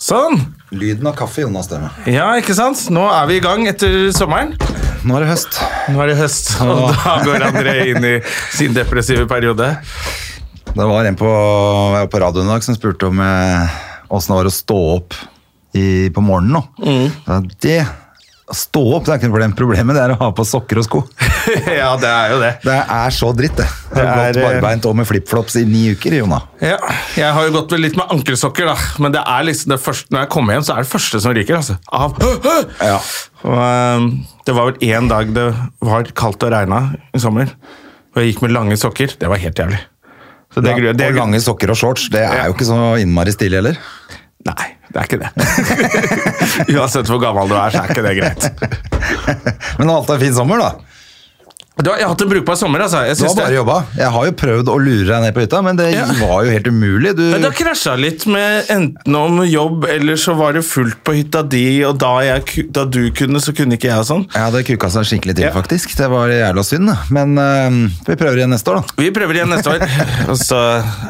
Sånn! Lyden av kaffe, Jonas Stemme. Ja, ikke sant? Nå er vi i gang etter sommeren. Nå er det høst. Nå er det høst, og da går André inn i sin depressive periode. Det var en på, jeg var på radioen i dag som spurte om eh, åssen det var å stå opp i, på morgenen nå. Mm. Ja, Det å stå opp det er ikke noe problem. Problemet det er å ha på sokker og sko. Ja, det er jo det. Det er så dritt, det. Jeg har Det gått er, eh, barbeint og med flipflops i ni uker, Jona. Ja, jeg har jo gått med litt med ankelsokker, da. Men det er liksom det første, når jeg kommer hjem, så er det første som ryker. altså. Av. Ja. Og, ehm, det var vel én dag det var kaldt og regna i sommer, og jeg gikk med lange sokker. Det var helt jævlig. Så det, gruer- det, og lange sokker og shorts, det er Ja. jo ikke så innmari stilig heller. Nei, det er ikke det. Uansett hvor gammel du er, så er ikke det greit. Men alt er fin sommer, da. Du, har- jeg har hatt en brukbar sommer, altså. Jeg Du synes har bare det, jobba. Jeg har jo prøvd å lure deg ned på hytta, men det Ja. var jo helt umulig. Du, men det har krasja litt med enten om jobb, eller så var det fullt på hytta di, og da, jeg, ku- da du kunne, så kunne ikke jeg og sånn. Ja, det kuka seg skikkelig til, Ja. faktisk. Det var jævla synd, da. Men eh, vi prøver igjen neste år, da. Vi prøver igjen neste år. Og så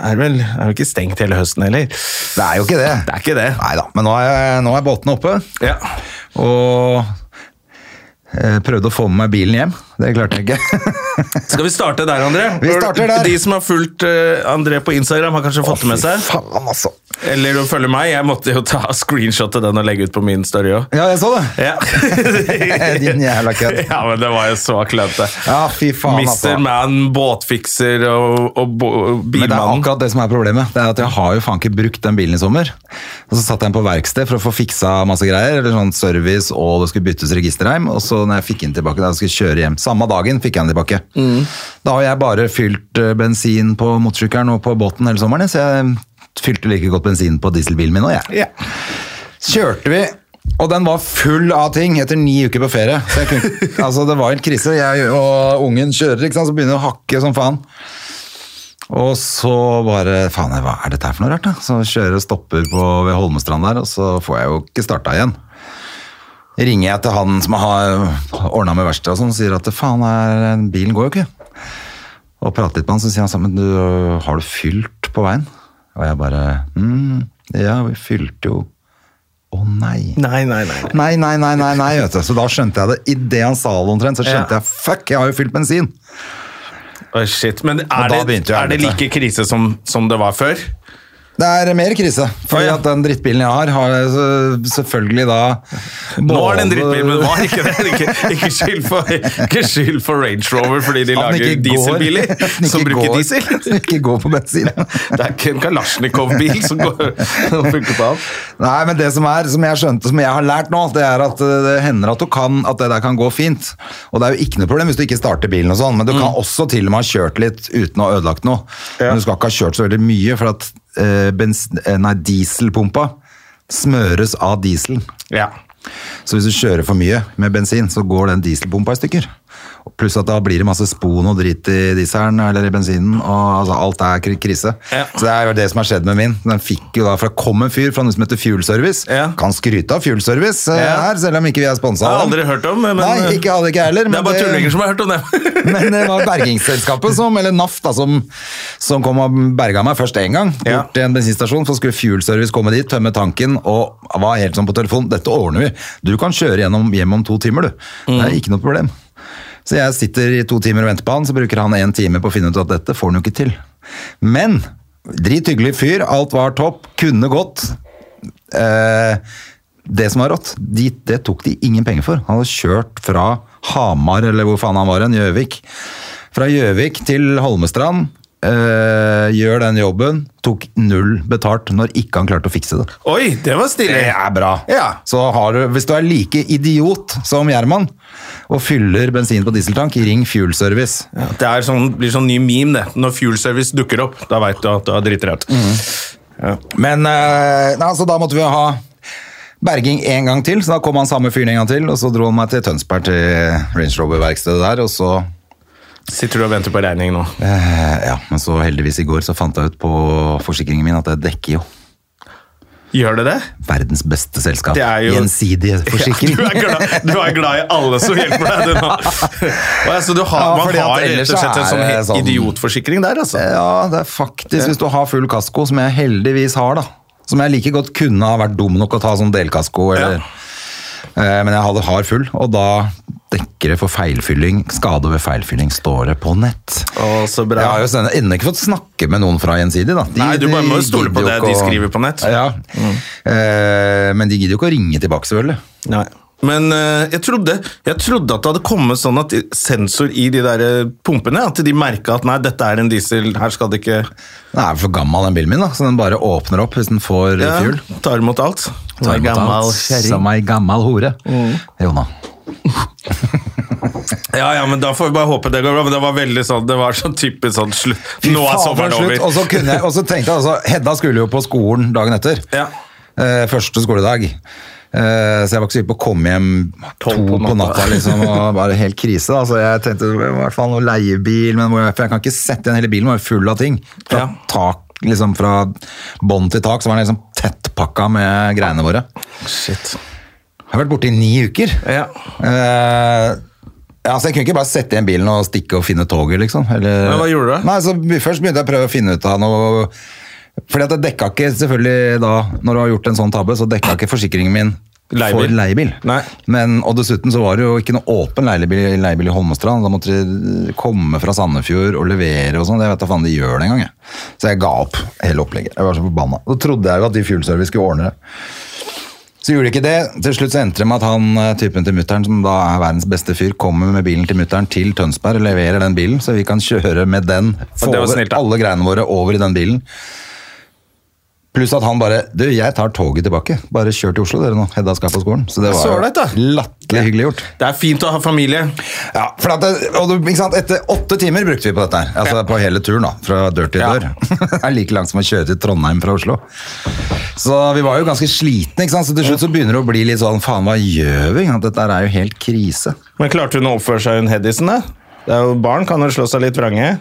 er det vel er det ikke stengt hele høsten heller. Det Det er jo ikke det. er ikke det. Nei da, men nå er, nå er båtene oppe. Ja. Og eh, prøvde å få med meg bilen hjem. Det klarte jeg ikke. Skal vi starte der, André? Vi starter der. De som har fulgt eh, André på Instagram, har kanskje fått det med seg. Faen, altså. Eller å følge meg. Jeg måtte jo ta screenshot av den og legge ut på min story òg. Ja, jeg så det. Ja. Din jævla kødd. Ja, men det var jo så klønete. Ja, fy faen, Mister altså. Man, båtfikser og, og, bo- og Men det er bilmannen. akkurat det som er problemet. Det er at Jeg har jo faen ikke brukt den bilen i sommer. Og Så satt jeg den på verksted for å få fiksa masse greier. eller sånn service, Og det skulle byttes registerheim. Og så når jeg fikk den tilbake, da jeg skulle kjøre hjem, samme dagen fikk jeg den tilbake. Da har jeg bare fylt eh, bensin på motorsykkelen og på båten hele sommeren. Så jeg fylte like godt bensin på dieselbilen min òg, jeg. Ja. Kjørte vi, og den var full av ting etter ni uker på ferie. Så jeg kunne, altså, det var helt krise. Jeg og ungen kjører, ikke sant? så begynner det å hakke som faen. Og så bare Faen, hva er dette her for noe rart, da? Så kjører og stopper på, ved Holmestrand der, og så får jeg jo ikke starta igjen. Ringer jeg til han som har ordna med verkstedet og sånn, sier at faen, er, bilen går jo ikke. Og prater litt med han, så sier han sammen, du, har du fylt på veien? Og jeg bare, mm, ja, vi fylte jo. Å nei. Nei, nei, nei. nei. Nei, nei, nei, nei, nei, vet du. Så da skjønte jeg det. I det han sa det omtrent, så skjønte Ja. jeg, fuck, jeg har jo fylt bensin. Oi, shit. Men da er det, begynte jo er det helvete. like krise som, som det var før? Det er mer krise, fordi Å, ja. at den drittbilen jeg har, har jeg så- selvfølgelig da... Nå er det en både- drittbil, men var ikke det. Ikke, ikke, skyld for, ikke skyld for Range Rover fordi de At den lager ikke går- dieselbiler at den som ikke bruker går- diesel. at den Ikke går på bensin. Det er ikke en Kalasjnikov-bil som, går- som funker på alt. Nei, men det som er, som jeg skjønte, som jeg har lært nå, det er at eh, det hender at du kan, at det der kan gå fint. Og det er jo ikke noe problem hvis du ikke starter bilen og sånn, men du kan Mm. også til og med ha kjørt litt uten å ha ødelagt noe. Men du skal ikke ha kjørt så veldig mye, for at eh, bens- eh, nei, dieselpumpa smøres av diesel. Ja. Så hvis du kjører for mye med bensin, så går den dieselpumpa i stykker. Og Pluss at da blir det masse spon og drit i dieselen eller i bensinen. og altså, Alt er kri- krise. Ja. Så det er jo det som har skjedd med min. Den fikk jo da, for Det kom en fyr fra noe som heter Fuel Service. Ja. Kan skryte av Fuel Service eh, Ja. her, selv om ikke vi er sponsa. Det har jeg aldri hørt om. Men, Nei, ikke, hadde ikke jeg heller. det men eh, er bare tullinger som har hørt om det. men det var bergingsselskapet som, eller NAF da, som, som kom og berga meg først en gang. Bort Ja. til en bensinstasjon, så skulle Fuel Service komme dit, tømme tanken, og var helt sånn på telefon, dette ordner vi. Du kan kjøre gjennom hjem om to timer, du. Det er ikke noe problem. Så jeg sitter i to timer og venter på han, så bruker han en time på å finne ut at dette får han jo ikke til. Men, drithyggelig fyr, alt var topp, kunne gått. Eh, det som var rått, de, det tok de ingen penger for. Han hadde kjørt fra Hamar, eller hvor faen han var hen, Gjøvik. Fra Gjøvik til Holmestrand. eh, gjør den jobben. Tok null betalt når ikke han klarte å fikse det. Oi, det var Det stilig. er bra. Så har du, hvis du er like idiot som Gjerman og fyller bensin på dieseltank, ring Fuel Service. Det er sånn, blir sånn ny meme, det. Når Fuel Service dukker opp, da veit du at du har driti deg ut. Men eh, nei, altså, da måtte vi ha berging en gang til, så da kom han samme fyren en gang til, og så dro han meg til Tønsberg til Range Rover-verkstedet der, og så Sitter du og venter på regning nå? eh, Ja, men så heldigvis i går så fant jeg ut på forsikringen min at jeg dekker jo Gjør det det? verdens beste selskap. Det er jo- Gjensidige forsikring. Du er, glad, du er glad i alle som hjelper deg, du nå. Å, ja, så du har, Ja, man fordi at har ellers rett og slett en så sånn, er helt det sånn- idiotforsikring der, altså? Ja, det er faktisk hvis du har full kasko, som jeg heldigvis har, da. Som jeg like godt kunne ha vært dum nok å ta sånn delkasko, eller eh, Men jeg hadde har full, og da dekker det for feilfylling. Skade ved feilfylling står det på nett. Å, så Jeg bra. har jo sen- ennå ikke fått snakke med noen fra Gjensidig, da. De- Nei, du de bare må jo stole på gidder det jo ikke de å- skriver på nett. Mm. Ja. Eh, men de gidder jo ikke å ringe tilbake, selvfølgelig. Nei. Men eh, jeg, trodde, jeg trodde at det hadde kommet sånn at sensor i de der eh, pumpene, at de merka at nei, dette er en diesel, her skal det ikke Den er for gammel, den bilen min, da, så den bare åpner opp hvis den får ja, fuel. tar imot alt. Tar imot alt. Som ei gammal hore. Mm. Jonna. Ja, ja, men da får vi bare håpe det går bra. Men det var veldig sånn, det var sånn typisk sånn slutt. Nå er Faen, sommeren for slutt. over. Og så, kunne jeg, og så tenkte jeg altså, Hedda skulle jo på skolen dagen etter. Ja. Eh, første skoledag. Eh, så jeg var ikke så hypp på å komme hjem to Tolv på på natta. natta. liksom, og Bare helt krise. da, Så jeg tenkte i hvert fall noe leiebil, men hvor jeg- for jeg kan ikke sette igjen hele bilen, den var jo full av ting. Fra Ja. tak, liksom fra bånn til tak, så var den liksom tettpakka med greiene våre. Shit. Jeg har vært borte i ni uker. Ja. Eh, ja, så jeg kunne ikke bare sette igjen bilen og stikke og finne toget, liksom. Eller... Men hva gjorde du? Nei, så be- Først begynte jeg å prøve å finne ut av noe Fordi at jeg dekka ikke selvfølgelig da Når du har gjort en sånn tabbe, så dekka ikke forsikringen min Leiebil. for leiebil. Nei. Men, og dessuten så var det jo ikke noe åpen leiebil, leiebil i Holmestrand. Da måtte de komme fra Sandefjord og levere og sånn. Jeg vet da faen de gjør det engang. jeg. Så jeg ga opp hele opplegget. Jeg var så forbanna. Da trodde jeg jo at de Fuel Service skulle ordne det. Så gjorde de ikke det. Til slutt så endte det med at han, eh, typen til mutteren, som da er verdens beste fyr, kommer med bilen til mutteren til Tønsberg og leverer den bilen, så vi kan kjøre med den. Få det var over snilt, da. alle greiene våre over i den bilen. Pluss at han bare Du, jeg tar toget tilbake. Bare kjør til Oslo, dere nå. Hedda skal på skolen. Så det Så var ålreit, da. jo latterlig hyggelig gjort. Det er fint å ha familie. Ja, for at det, og du, ikke sant? Etter åtte timer brukte vi på dette her. Altså på hele turen, da. Fra dør til Ja. dør. Det er like langt som å kjøre til Trondheim fra Oslo. Så vi var jo ganske slitne, ikke sant. Så til slutt så begynner det å bli litt sånn faen, hva gjør vi? Ikke sant? Dette her er jo helt krise. Men klarte hun å oppføre seg, hun Hedisen, da? Det er jo barn, kan jo slå seg litt vrange.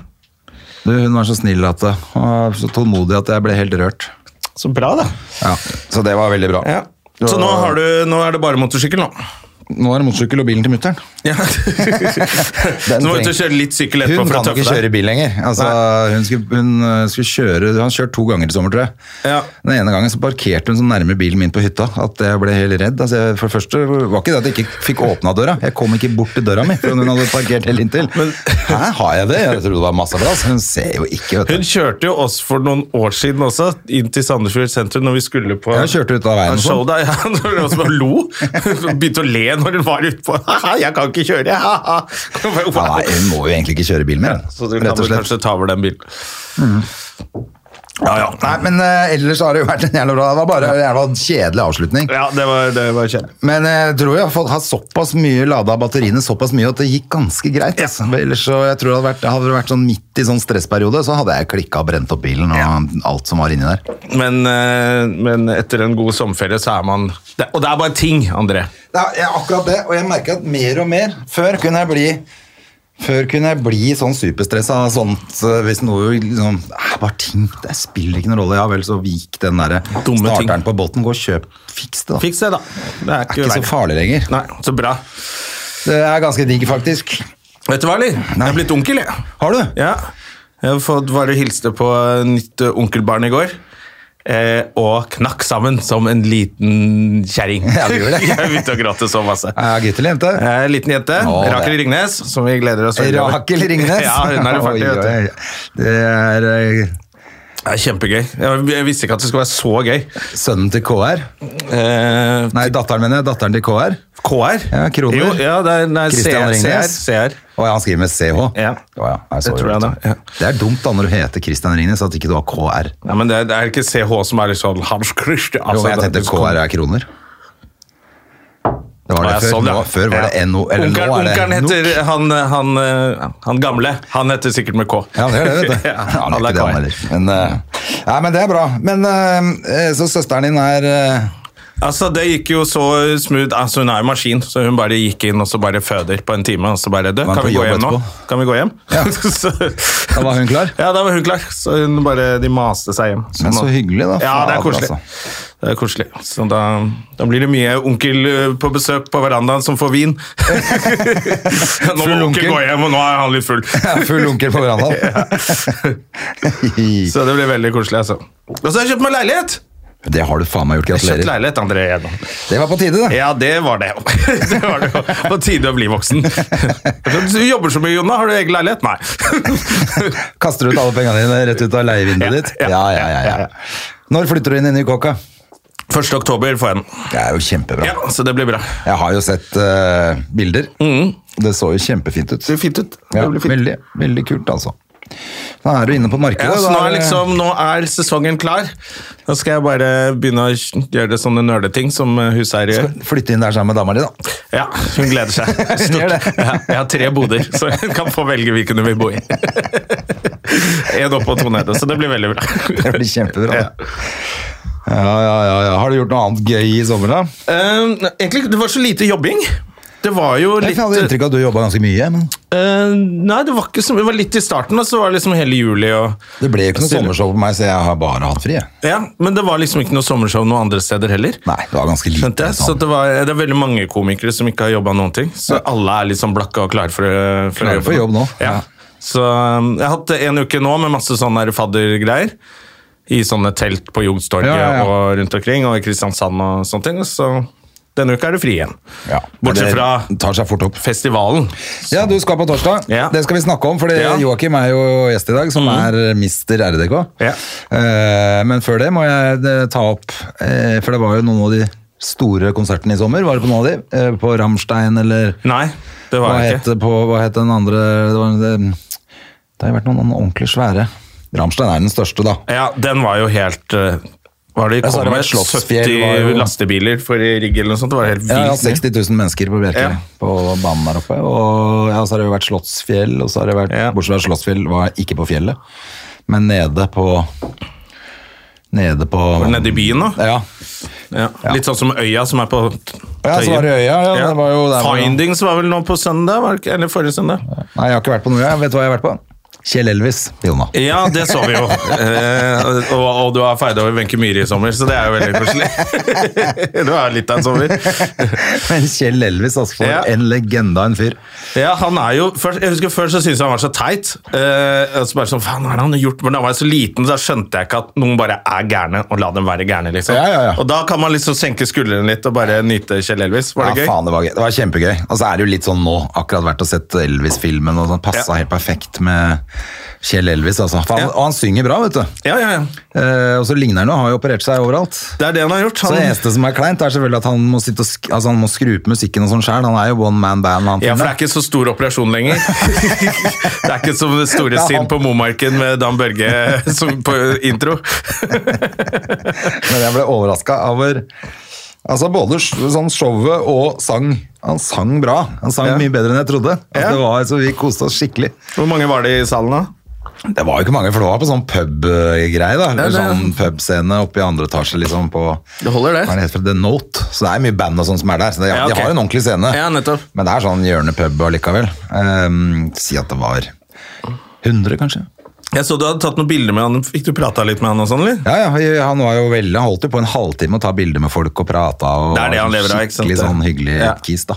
Du, hun var så snill at det, og så tålmodig at jeg ble helt rørt. Så bra, da. Ja, Så det var veldig bra. Ja. Så nå, har du, nå er det bare motorsykkel, nå. Nå er det motorsykkel og bilen til mutter'n. Ja. så Den må du treng- kjøre litt sykkel etterpå Hun for å kan jo tøffe ikke kjøre deg. bil lenger. Altså, hun skulle, hun øh, skulle kjøre Hun har kjørt to ganger i sommer, tror jeg. Ja. Den ene gangen så parkerte hun så nærme bilen min på hytta at jeg ble helt redd. Altså, jeg, for det første var ikke det at jeg ikke fikk åpna døra. Jeg kom ikke bort til døra mi, for hun hadde parkert helt inntil. Hæ, har jeg det? Jeg trodde det var masse plass. Hun ser jo ikke, vet Hun du. kjørte jo oss for noen år siden også, inn til Sandefjord sentrum når vi skulle på Ja, hun kjørte ut av veien og sånn. Show, da, ja, når hun også bare lo. Begynte å le når hun var utpå. Jeg kan ikke kjøre! haha. Ja, nei, hun må jo egentlig ikke kjøre bil mer, Så du kan rett og vel slett. kanskje ta over den bilen. Ja, ja. Nei, men øh, ellers har det jo vært en jævla bra Det var bare en jævla kjedelig avslutning. Ja, det var, det var kjedelig. Men eh, jeg tror jeg har fått- har såpass mye lada batteriene såpass mye at det gikk ganske greit. Altså. Ellers så jeg tror det hadde vært, hadde det vært sånn midt i sånn stressperiode, så hadde jeg klikka og brent opp bilen og alt som var inni der. Men, eh, men etter en god sommerferie så er man det, Og det er bare ting, André. Det er jeg- akkurat det, og jeg merker at mer og mer Før kunne jeg bli før kunne jeg bli sånn superstressa sånt, eh, hvis noe liksom, eh, Bare ting, det spiller ikke noen rolle. Ja vel, så vik den derre Dumme ting. starteren på båten. Gå og kjøp, fiks det, da. Fiks det, da. Det er Det er ikke så verre. farlig lenger. Nei, så bra. Det er ganske digg, faktisk. Vet du hva, eller? Jeg er blitt onkel, jeg. Har du? Ja. Jeg har fått bare hilste på nytt eh, onkelbarn i går. Eh, og knakk sammen som en liten kjerring. Ja, du gjorde det. jeg begynte å gråte så masse. Ja, gutt eller jente? Eh, liten jente, Å, det- Rakel Ringnes, som vi gleder oss veldig over. Rakel Ringnes. Ja, hun er jo 40, Oi, vet du. oi, oi. Det er eh, Det er kjempegøy. Jeg, jeg visste ikke at det skulle være så gøy. sønnen til KR. Eh, Nei, datteren mener jeg. Datteren til KR. KR? Ja, kroner. Jo, ja, det er, nei, Christian CR, Ringnes. CR. Å ja, han skriver med CH. Ja. Å ja, jeg så Det jo tror jeg det. da, ja. Det er dumt da når du heter Christian Ringnes at ikke du har KR. Nei, men det er, det er ikke CH som er liksom Hans Christian. Jo, altså, jeg det- tenkte KR er kroner. Det var det Ja, før. sånn, ja. Nå, før var Ja. det NO, eller Onkelen- nå er det Onkelen NO. heter han, han, eh, han gamle. Han heter sikkert med K. Ja, det gjør det, vet du. Ja, han han er er ikke det, han kar. heller. Men, eh, nei, men det er bra. Men eh, eh, Så søsteren din er eh, Altså, det gikk jo så smooth. Altså, hun er jo maskin, så hun bare gikk inn og så bare føder på en time. Og så bare du, Var hun kan på vi gå jobb hjem nå? etterpå? Kan vi gå hjem? Ja. Så- Da var hun klar? Ja, da var hun klar. Så hun bare, de maste seg hjem. Men så hyggelig, da. Ja, det er Fader, koselig. altså. Det er koselig. Så da, da blir det mye onkel eh, på besøk på verandaen som får vin. nå må Full onkel onkel. gå hjem, og nå er han litt full. Ja, full onkel på verandaen. Så det blir veldig koselig, altså. Og så har jeg kjøpt meg leilighet! det har du faen meg gjort. Jeg har kjøpt Gratulerer. leilighet, André. Gjennom. Det var på tide, det. Ja, det var det. det var det. På tide å bli voksen. Du jobber så mye, Jonna. Har du egen leilighet? Nei. Kaster ut alle pengene dine rett ut av leievinduet Ja, ditt. ja, Ja, ja, ja, ja, ja. ja. Når flytter du inn i Nykåka? 1. oktober får jeg den. Det er jo kjempebra. Ja, så det blir bra. Jeg har jo sett eh, bilder. Det så jo kjempefint ut. Det ser fint ut. Ja, Mm. Det blir fint. veldig, veldig kult, altså. Da er du inne på markedet. Ja, så nå da er, det- liksom, nå er sesongen klar. Nå skal jeg bare begynne å gjøre det sånne nerdeting som eh, huseiere gjør. Flytte inn der sammen med dama di, da. Ja, hun gleder seg. Stort. Gjør det. Ja, jeg har tre boder, så hun kan få velge hvilken hun vil bo i. Én opp og to nede, så det blir veldig bra. Det blir kjempebra. Ja. da. Ja, ja, ja, ja. Har du gjort noe annet gøy i sommer, da? Eh, egentlig, det var så lite jobbing. Det var jo Jeg litt hadde inntrykk av at du jobba ganske mye, men Eh, nei, det var ikke så Det var litt i starten, og så var det liksom hele juli og det ble jo ikke noe Stille. sommershow på meg, så jeg har bare hatt fri. jeg. Ja, men det var liksom ikke noe sommershow noen andre steder heller. Nei, det var ganske lite. Skjønte jeg? Så sånn. det, var, det er veldig mange komikere som ikke har jobba noen ting. Så alle er liksom blakke og klare for, for, Klare for jobb nå. Ja. Ja. Så um, jeg har hatt en uke nå med masse sånne der faddergreier. I sånne telt på Youngstorget Ja, ja, ja. og rundt omkring, og i Kristiansand og sånne ting. og Så denne uka er det fri igjen. Ja, men Bortsett det fra tar seg fort opp. festivalen. Ja, du skal på torsdag. Ja. Det skal vi snakke om, for Ja. Mm. Joakim er jo gjest i dag, som er mister RDK. Ja. Eh, Men før det må jeg eh, ta opp, eh, for det var jo noen av de store konsertene i sommer. Var det på noen av de? Eh, På Rammstein eller Nei, det var hva jeg het, ikke. det på, hva het den andre Det, var, det, det har jo vært noen ordentlig svære. Rammstein er den største, da. Ja, den var jo helt eh, Var Jeg det sa kom det var med Slottsfjell, 70 var jo- lastebiler for i rigg eller noe sånt? Det var helt vilt. Ja, ja, mye. 60 000 mennesker på Bjerke, Ja. på banen der oppe. Og ja, så har det jo vært Slottsfjell, og så har det vært Ja. Bortsett fra Slottsfjell var ikke på fjellet, men nede på Nede på Nede i byen, da? Ja. Ja. Litt sånn som Øya, som er på Ja, så var det Øya, ja, det var jo der hvor- Findings var vel nå på søndag? Var det, ikke- eller forrige søndag? Nei, jeg har ikke vært på noe, jeg. Vet du hva jeg har vært på? Kjell Elvis, Jonna. Ja, det så vi jo. eh, og, og du har feida over Wenche Myhre i sommer, så det er jo veldig koselig. det var litt av en sommer. Men Kjell Elvis, altså. For Ja. en legende av en fyr. Ja, han er jo, først, jeg husker Før så syntes jeg han var så teit. Eh, og så bare sånn, faen, hva er det han har gjort? Men da var jeg så liten, så da skjønte jeg ikke at noen bare er gærne, og la dem være gærne. liksom. Ja, ja, ja. Og da kan man liksom senke skuldrene litt og bare nyte Kjell Elvis. Var ja, det gøy? Faen, det, var gøy. det var kjempegøy. Og så er det jo litt sånn nå, akkurat vært og sett Elvis-filmen, og sånn, passa Ja. helt perfekt med Kjell Elvis. Altså. Faen, Ja. Og han synger bra, vet du. Ja, ja, ja. Eh, og så ligner han jo, har jo operert seg overalt. Det er det han har gjort. Så det Han, eneste som er kleint, er selvfølgelig at han må, sitte og sk altså, han må skru på musikken og sånn sjøl. Han er jo one man band. Han, ja, for det er fyren der. ikke så stor operasjon lenger. det er ikke som det Det store er han. sinn på Momarken med Dan Børge som på intro. Men jeg ble overraska over altså, både s- sånn showet og sang. Han sang bra. Han sang Ja. mye bedre enn jeg trodde. Altså, Ja. det var, så vi koste oss skikkelig. Hvor mange var det i salen da? Det var jo ikke mange, for det var på sånn pub-greie, da. Eller det- sånn pubscene oppe i andre etasje, liksom, på Det holder, det. Hva er det heter for The Note? Så det er mye band og sånn som er der. Så det, Ja, ok. De har en ordentlig scene. Ja, nettopp. Men det er sånn hjørnepub allikevel. Ehm, si at det var 100, kanskje? Jeg så du hadde tatt noen bilder med han. Fikk du prata litt med han og sånn, eller? Ja, ja, vi- han var jo veldig, han holdt jo på en halvtime å ta bilder med folk og prata. Og Det er det han lever av, ikke sant? Skikkelig sånn hyggelig Ja. kis, da.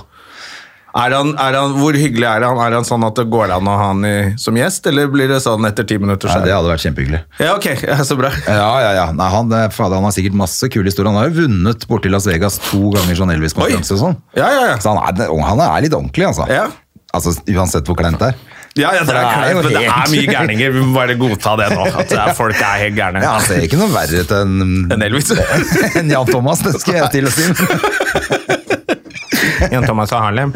Er han, er han, hvor hyggelig er han? Er han sånn at det går an å ha han i, som gjest, eller blir det sånn etter ti minutter? Nei, så er det hadde vært kjempehyggelig. Ja, ok. Ja, så bra. Ja, ja, ja. Nei, han, det- fader, han har sikkert masse kule historier. Han har jo vunnet borti Las Vegas to ganger sånn Elvis-konferanse og sånn. Ja, ja, ja. Så han er, han er litt ordentlig, altså. Ja. Altså, Uansett hvor kleint det er. Ja, ja, det, er Det er klart, jo men det er helt- mye gærninger. Vi må bare godta det nå. At det er, folk er helt gærne. Ja, Han ser ikke noe verre ut enn En Elvis. enn Jan Thomas, det skal jeg til å si. Jan Thomas og Harlem.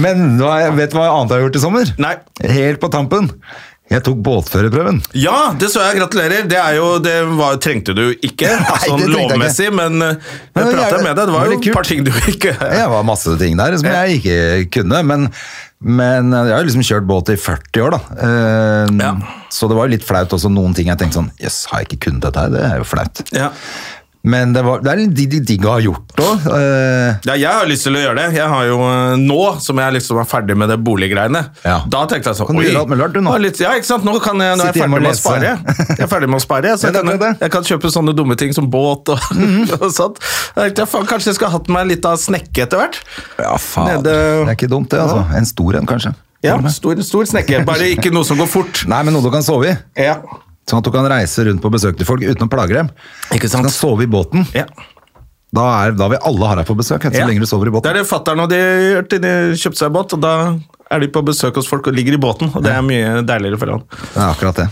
Men hva, jeg vet du hva annet jeg har gjort i sommer? Nei. Helt på tampen. Jeg tok båtførerprøven. Ja, det så jeg. Gratulerer. Det, er jo, det var, trengte du ikke, sånn det trengte jeg ikke. lovmessig, men eh, Men det jeg er prata jævlig- med deg. Det var veldig jo et par ting du ikke Det var masse ting der som jeg ikke kunne, men Men eh, jeg har jo liksom kjørt båt i 40 år, da. Eh, Ja. Så det var jo litt flaut også, noen ting jeg tenkte sånn Jøss, har jeg ikke kunnet dette her? Det er jo flaut. Ja. Men det, var, det er litt digg digg å ha gjort eh, det òg. Ja, jeg har lyst til å gjøre det. Jeg har jo eh, Nå som jeg liksom er ferdig med det boliggreiene, Ja. da tenkte jeg sånn Kan du oi, gjøre alt mulig rart, du, nå? ja, Litt, ja, ikke sant? Nå, kan jeg, nå er Sitte jeg hjemme ferdig og med å lese. spare. Jeg er ferdig med å spare, så Ja, jeg det er kan, akkurat det. Mhm. jeg kan kjøpe sånne dumme ting som båt og, og sånt. Jeg tenkte, faen, kanskje jeg skal ha hatt meg litt av snekke etter hvert. ja, faen. Det Nede- er ikke dumt, det. altså. En stor en, kanskje. Ja, stor, stor snekke, bare ikke noe som går fort. Nei, men noe du kan sove i. Ja. Sånn at du kan reise rundt på besøk til folk uten å plage dem. Ikke Du kan sant? sove i båten. Ja. Da, er, da vil alle ha deg på besøk, så Ja. lenge du sover i Det båten. er det fatter'n og de gjør til de kjøpte seg båt, og da er de på besøk hos folk og ligger i båten, og det er mye deiligere for han. Det er akkurat det.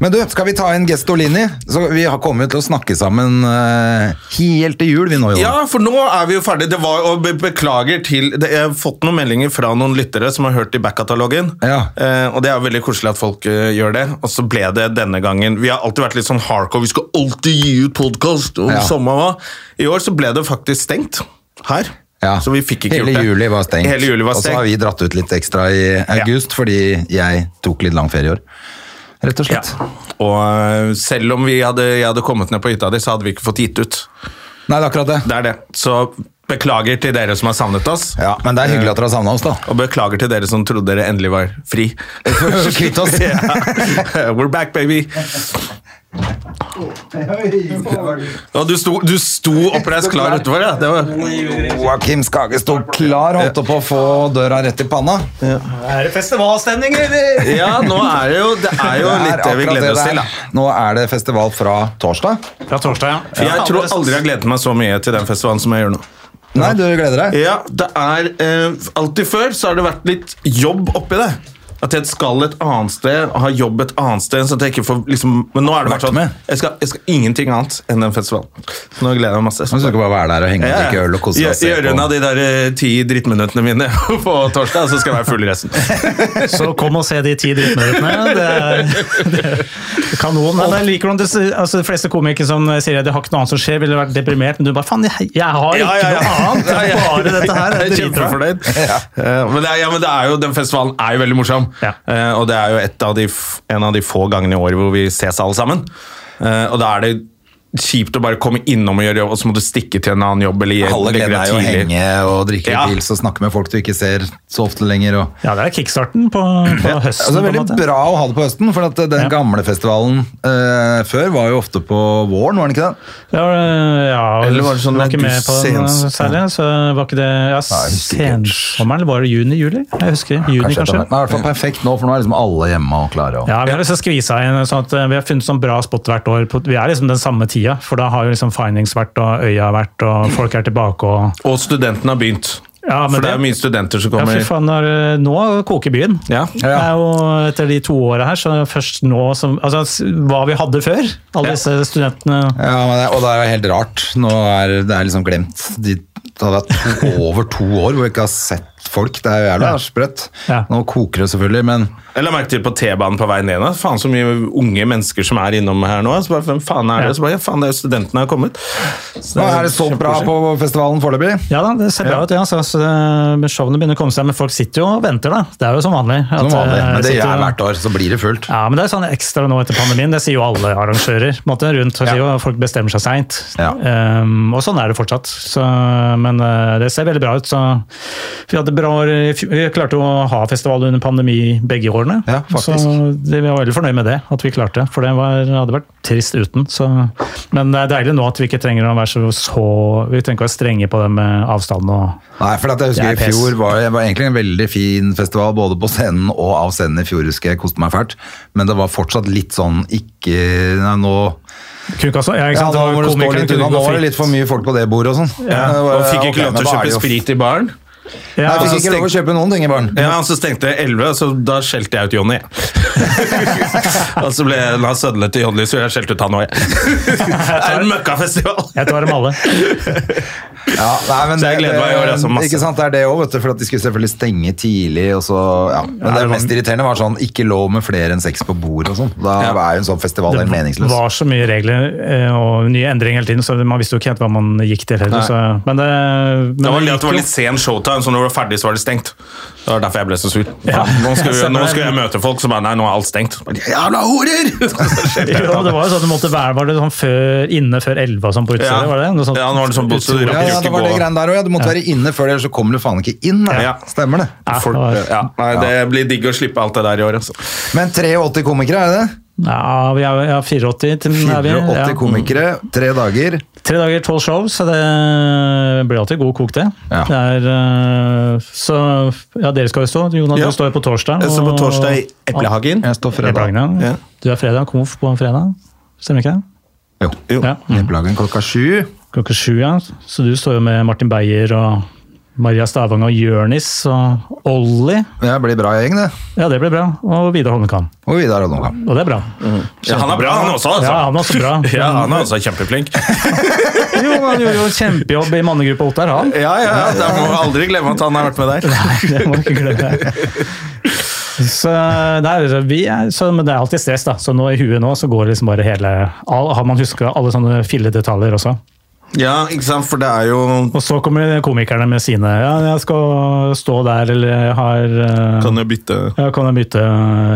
Men du, skal vi ta inn Gestolini? Så vi har kommet til å snakke sammen eh, helt til jul, vi nå, jo. Ja, for nå er vi jo ferdig. Det var, og be- beklager til det, Jeg har fått noen meldinger fra noen lyttere som har hørt i back-katalogen. Ja. Eh, og det er jo veldig koselig at folk eh, gjør det. Og så ble det denne gangen Vi har alltid vært litt sånn hardcore. Vi skal alltid gi ut podkast om Ja. samme hva. I år så ble det faktisk stengt her. Ja. Så vi fikk ikke Hele gjort det. juli var stengt. Hele juli var Og så har stengt. vi dratt ut litt ekstra i august, fordi jeg tok litt lang ferie i år. Rett og Ja. slett. Og eh, selv om vi hadde, jeg hadde kommet ned på hytta di, så hadde vi ikke fått gitt ut. Nei, det er akkurat det. Det er det. Så beklager til dere som har savnet oss. Ja, Men det er hyggelig at dere har savna oss, da. Og beklager til dere som trodde dere endelig var fri. Kvitt oss. Ja. We're back, baby! Og du sto, du sto oppreist klar utenfor, ja. Det var Joakim Skage sto klar, holdt på å få døra rett i panna. Er det festivalstemning, eller? ja, nå er det jo Det er jo Det er litt det vi akkurat gleder oss det til, det da. er. Nå er det festival fra torsdag. Fra torsdag, ja. Jeg tror aldri jeg har gledet meg så mye til den festivalen som jeg gjør nå. Nei, du gleder deg? Ja, det er eh, Alltid før så har det vært litt jobb oppi det. At jeg skal et annet sted, ha jobb et annet sted. Så at jeg ikke får liksom Men nå er Vært det vært sånn. med. Jeg skal, jeg skal ingenting annet enn den festivalen. Så nå gleder jeg meg masse. Så du skal bare være der og henge og drikke øl og kose deg. og se Gjør på. unna de der eh, ti drittminuttene mine på torsdag, så skal jeg være full i resten. Så kom og se de ti drittminuttene. Det er, det er kanon. Men jeg liker hvordan det, altså, de fleste komikere som sier at de har ikke noe annet som skjer, ville vært deprimert, men du bare faen, jeg, jeg har ikke Ja, ja, ja. noe annet. Det Ja, er ja. bare dette her. Det Jeg er er dritbra. kjempefornøyd. Eh, Men, det er, ja, men det er jo, den festivalen er jo veldig morsom, Ja. Eh, og det er jo et av de, f- en av de få gangene i året hvor vi ses alle sammen. Eh, Og da er det kjipt å bare komme innom og gjøre jobb, og så må du stikke til en annen jobb. Eller gjøre- Alle legge gleder deg deg å tidlig. henge og drikke Ja. litt pils og snakke med folk du ikke ser så ofte lenger. Og Ja, det er kickstarten på, på Altså, det høsten. er på en veldig måte. bra å ha det på høsten, for at eh, den Ja. gamle festivalen eh, før var jo ofte på våren, var den ikke det? Ja, øh, ja Eller var det sånn var ikke med på den sens- øh, særlig, så var ikke det ja, jeg husker ikke. sensommeren, eller var det juni-juli? Jeg husker, juni etter kanskje. hvert. Nei, i hvert fall perfekt nå, for nå er liksom alle hjemme og klare. Og. Ja, Vi har liksom skvisa inn sånn at eh, vi har funnet sånn bra spot hvert år. På, vi er liksom den samme tida, for da har jo liksom Findings vært, og Øya vært, og folk er tilbake og Og studentene har begynt. Ja, men For det er det- jo mye studenter som Ja, kommer. fy faen, når, eh, nå koker byen. Ja. Det er jo etter de to åra her, så først nå som Altså s- hva vi hadde før, alle disse studentene Ja, men det, og det er jo helt rart. Nå er det er liksom glemt. De det har vært to, over to år hvor vi ikke har sett folk. Det er jo jævla sprøtt. Ja. Nå koker det selvfølgelig, men Jeg la merke til på T-banen på vei ned. da. Faen så mye unge mennesker som er innom her nå. Så bare, Hvem faen er det? Så bare, ja, faen, det er jo studentene har kommet. Så nå er det så bra kjempekoselig. på festivalen foreløpig. Ja da, det ser bra ut. ja, så, så, eh, men Showene begynner å komme seg, men folk sitter jo og venter, da. Det er jo som vanlig. at, Som vanlig. eh, Men det sitter- gjør jeg hvert år, så blir det fullt. Ja, men det er sånn ekstra nå etter pandemien. Det sier jo alle arrangører. på en Måte, rundt, og sier jo, at folk bestemmer seg seint. Ja. og sånn er det fortsatt. Så, men eh, det ser veldig bra ut. Så vi hadde bra år. i fj- Vi klarte å ha festival under pandemi begge årene. Ja, faktisk. Så det, vi var veldig fornøyd med det, at vi klarte. For det var, hadde vært trist uten. Så. Men det er deilig nå at vi ikke trenger å være så, så Vi trenger ikke å være strenge på det med avstanden og Nei, for at jeg husker Det er i pes. fjor var det var egentlig en veldig fin festival, både på scenen og av scenen i fjor, husker jeg, koste meg fælt. Men det var fortsatt litt sånn, ikke, nei, nå... Kunne ikke ha så- ja, Ja, ikke sant? nå Det var må du stå komikerne litt kunne unna, gå nå var det fritt. litt for mye folk på det bordet og sånn. Det var- Og fikk ok, ikke lov men til å da er det kjøpe jo- sprit i baren. Ja, Nei, jeg og fikk så ikke lov å kjøpe noen ting i baren. Ja, og så stengte jeg 11, så da skjelte jeg ut Jonny. og så ble jeg la sødle til Jonny, så jeg skjelte ut han òg, jeg. det er en møkkafestival! Jeg tar dem alle. Ja, nei, men Så jeg det- gleder meg i år, altså, masse. Ikke sant, det er det også, vet du, for at de skulle selvfølgelig stenge tidlig, og så, ja. Men det det var- mest irriterende var sånn, ikke lov med flere enn seks på bord og sånn. Da Ja. er jo en sånn festival helt meningsløs. Det var så mye regler eh, og nye endringer hele tiden, så man visste jo ikke helt hva man gikk til heller. Nei. Så, men det, men Det var det det at det var gikk litt sen showtime, så når det var ferdig, så var det stengt. Det Det var derfor jeg ble så sur. Ja. Faen, Nå skulle, Stemmer nå det. skulle jeg møte folk som bare Nei, nå er alt stengt. Jævla horer! Jo, det var jo sånn at du måtte være var det sånn før, inne før 11 og sånn på Ja, utstedet, var det? Noe sånt? ja nå var det sånn buss, du rakk Ja, jo ja, ikke det var det gå. greiene der også, ja. Du måtte være inne før det, ellers så kommer du faen ikke inn. da. Ja. Stemmer det. Ja, Folk, det var- ja, nei, det blir digg å slippe alt det der i år. Altså. Men 83 komikere, er det det? Ja, vi er, ja 84 til er vi. 480 Ja. komikere, tre dager. Tre dager, tolv show, så det blir alltid god kok, det. Ja. det er, eh, så ja, dere skal jo stå. Jonas, Ja. du står jo på torsdag. Jeg står på torsdag i E-, Eplehagen. Jeg står Fredag. fredag. Ja. Du er fredag, konf på en fredag. Stemmer ikke det? Jo. Jo. Ja. Mm. Eplehagen klokka sju. Klokka sju, ja. Så du står jo med Martin Beyer og Maria Stavang og Jørnis og Olli. Det blir bra gjeng, det. Ja, det ble bra. Og Vidar Holmenkamp. Og Vidar Holmgang. Og det er bra. Ja, han er bra, han også. Altså. Ja, han er også bra. Ja, han er også kjempeflink. Jo, han gjorde jo en kjempejobb i mannegruppa Ottar, han. Ja, ja, ja, da må vi aldri glemme at han har vært med der. Det må du ikke glemme. Så, nei, altså, vi er, så, men det er alltid stress, da. Så nå i huet nå så går det liksom bare hele all, Har man huska alle sånne filledetaljer også? Ja, ikke sant, for det er jo Og så kommer komikerne med sine Ja, jeg skal stå der, eller jeg har eh, Kan jo bytte ja, Kan jeg bytte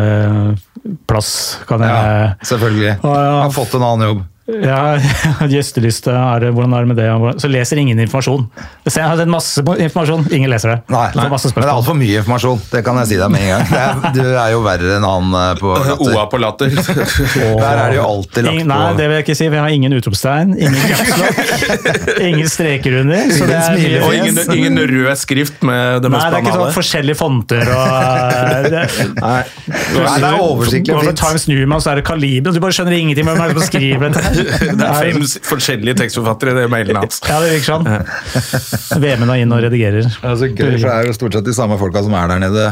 eh, plass? Kan jeg Ja, selvfølgelig. Å, ja. Har fått en annen jobb. Ja, gjesteliste, er det, hvordan er det med det? Hvordan- Så leser ingen informasjon. Så jeg har sett masse informasjon, ingen leser det. Nei, Så masse men det er spørsmål. altfor mye informasjon. Det kan jeg si deg med en gang. Det er, du er jo verre enn han eh, på OA latter. på latter. Der er det jo alltid lagt Ingen, nei, på. det vil jeg ikke si. Vi har ingen utropstegn, ingen gapslokk, ingen streker under. Så det er mye smilefjes. Og ingen, ingen rød skrift med det Nei, mest det er ikke banale. sånn forskjellige fonter og eh, det, Nei. Nei, det er oversiktlig og Når du fint. tar en snurmann, så er det kaliber, og du bare skjønner ingenting hvem er det som skriver dette. Det er fem s- forskjellige tekstforfattere i det mailen hans. Ja, det virker sånn. Vemund er inne og redigerer. Det er så Altså, gøy, for det er jo stort sett de samme folka som er der nede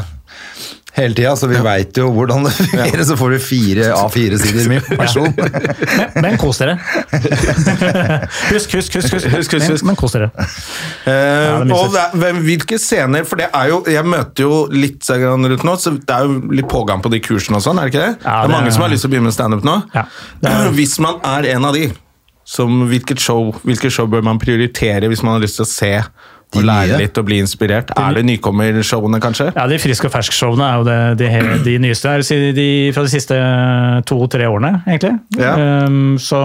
hele tida, så vi veit jo hvordan det fungerer. Så får du fire A4-sider med informasjon. Men, men kos dere. Husk, husk, husk. husk. Husk, husk, husk. Men, men kos dere. Eh, Ja, det er mye og det er, hvem- hvilke scener For det er jo Jeg møter jo litt så grann rundt nå, så det er jo litt pågang på de kursene og sånn, er det ikke det? Ja, det, er det mange er- som har lyst til å begynne med standup nå. Ja, det er- Hvis man er en av de, som hvilket show, hvilke show bør man prioritere hvis man har lyst til å se De og lære nye. litt og bli inspirert? Er det nykommershowene, kanskje? Ja, De frisk og fersk-showene er jo det, de, he- de nyeste er, si- de, fra de siste to-tre årene, egentlig. Ja. Ehm, så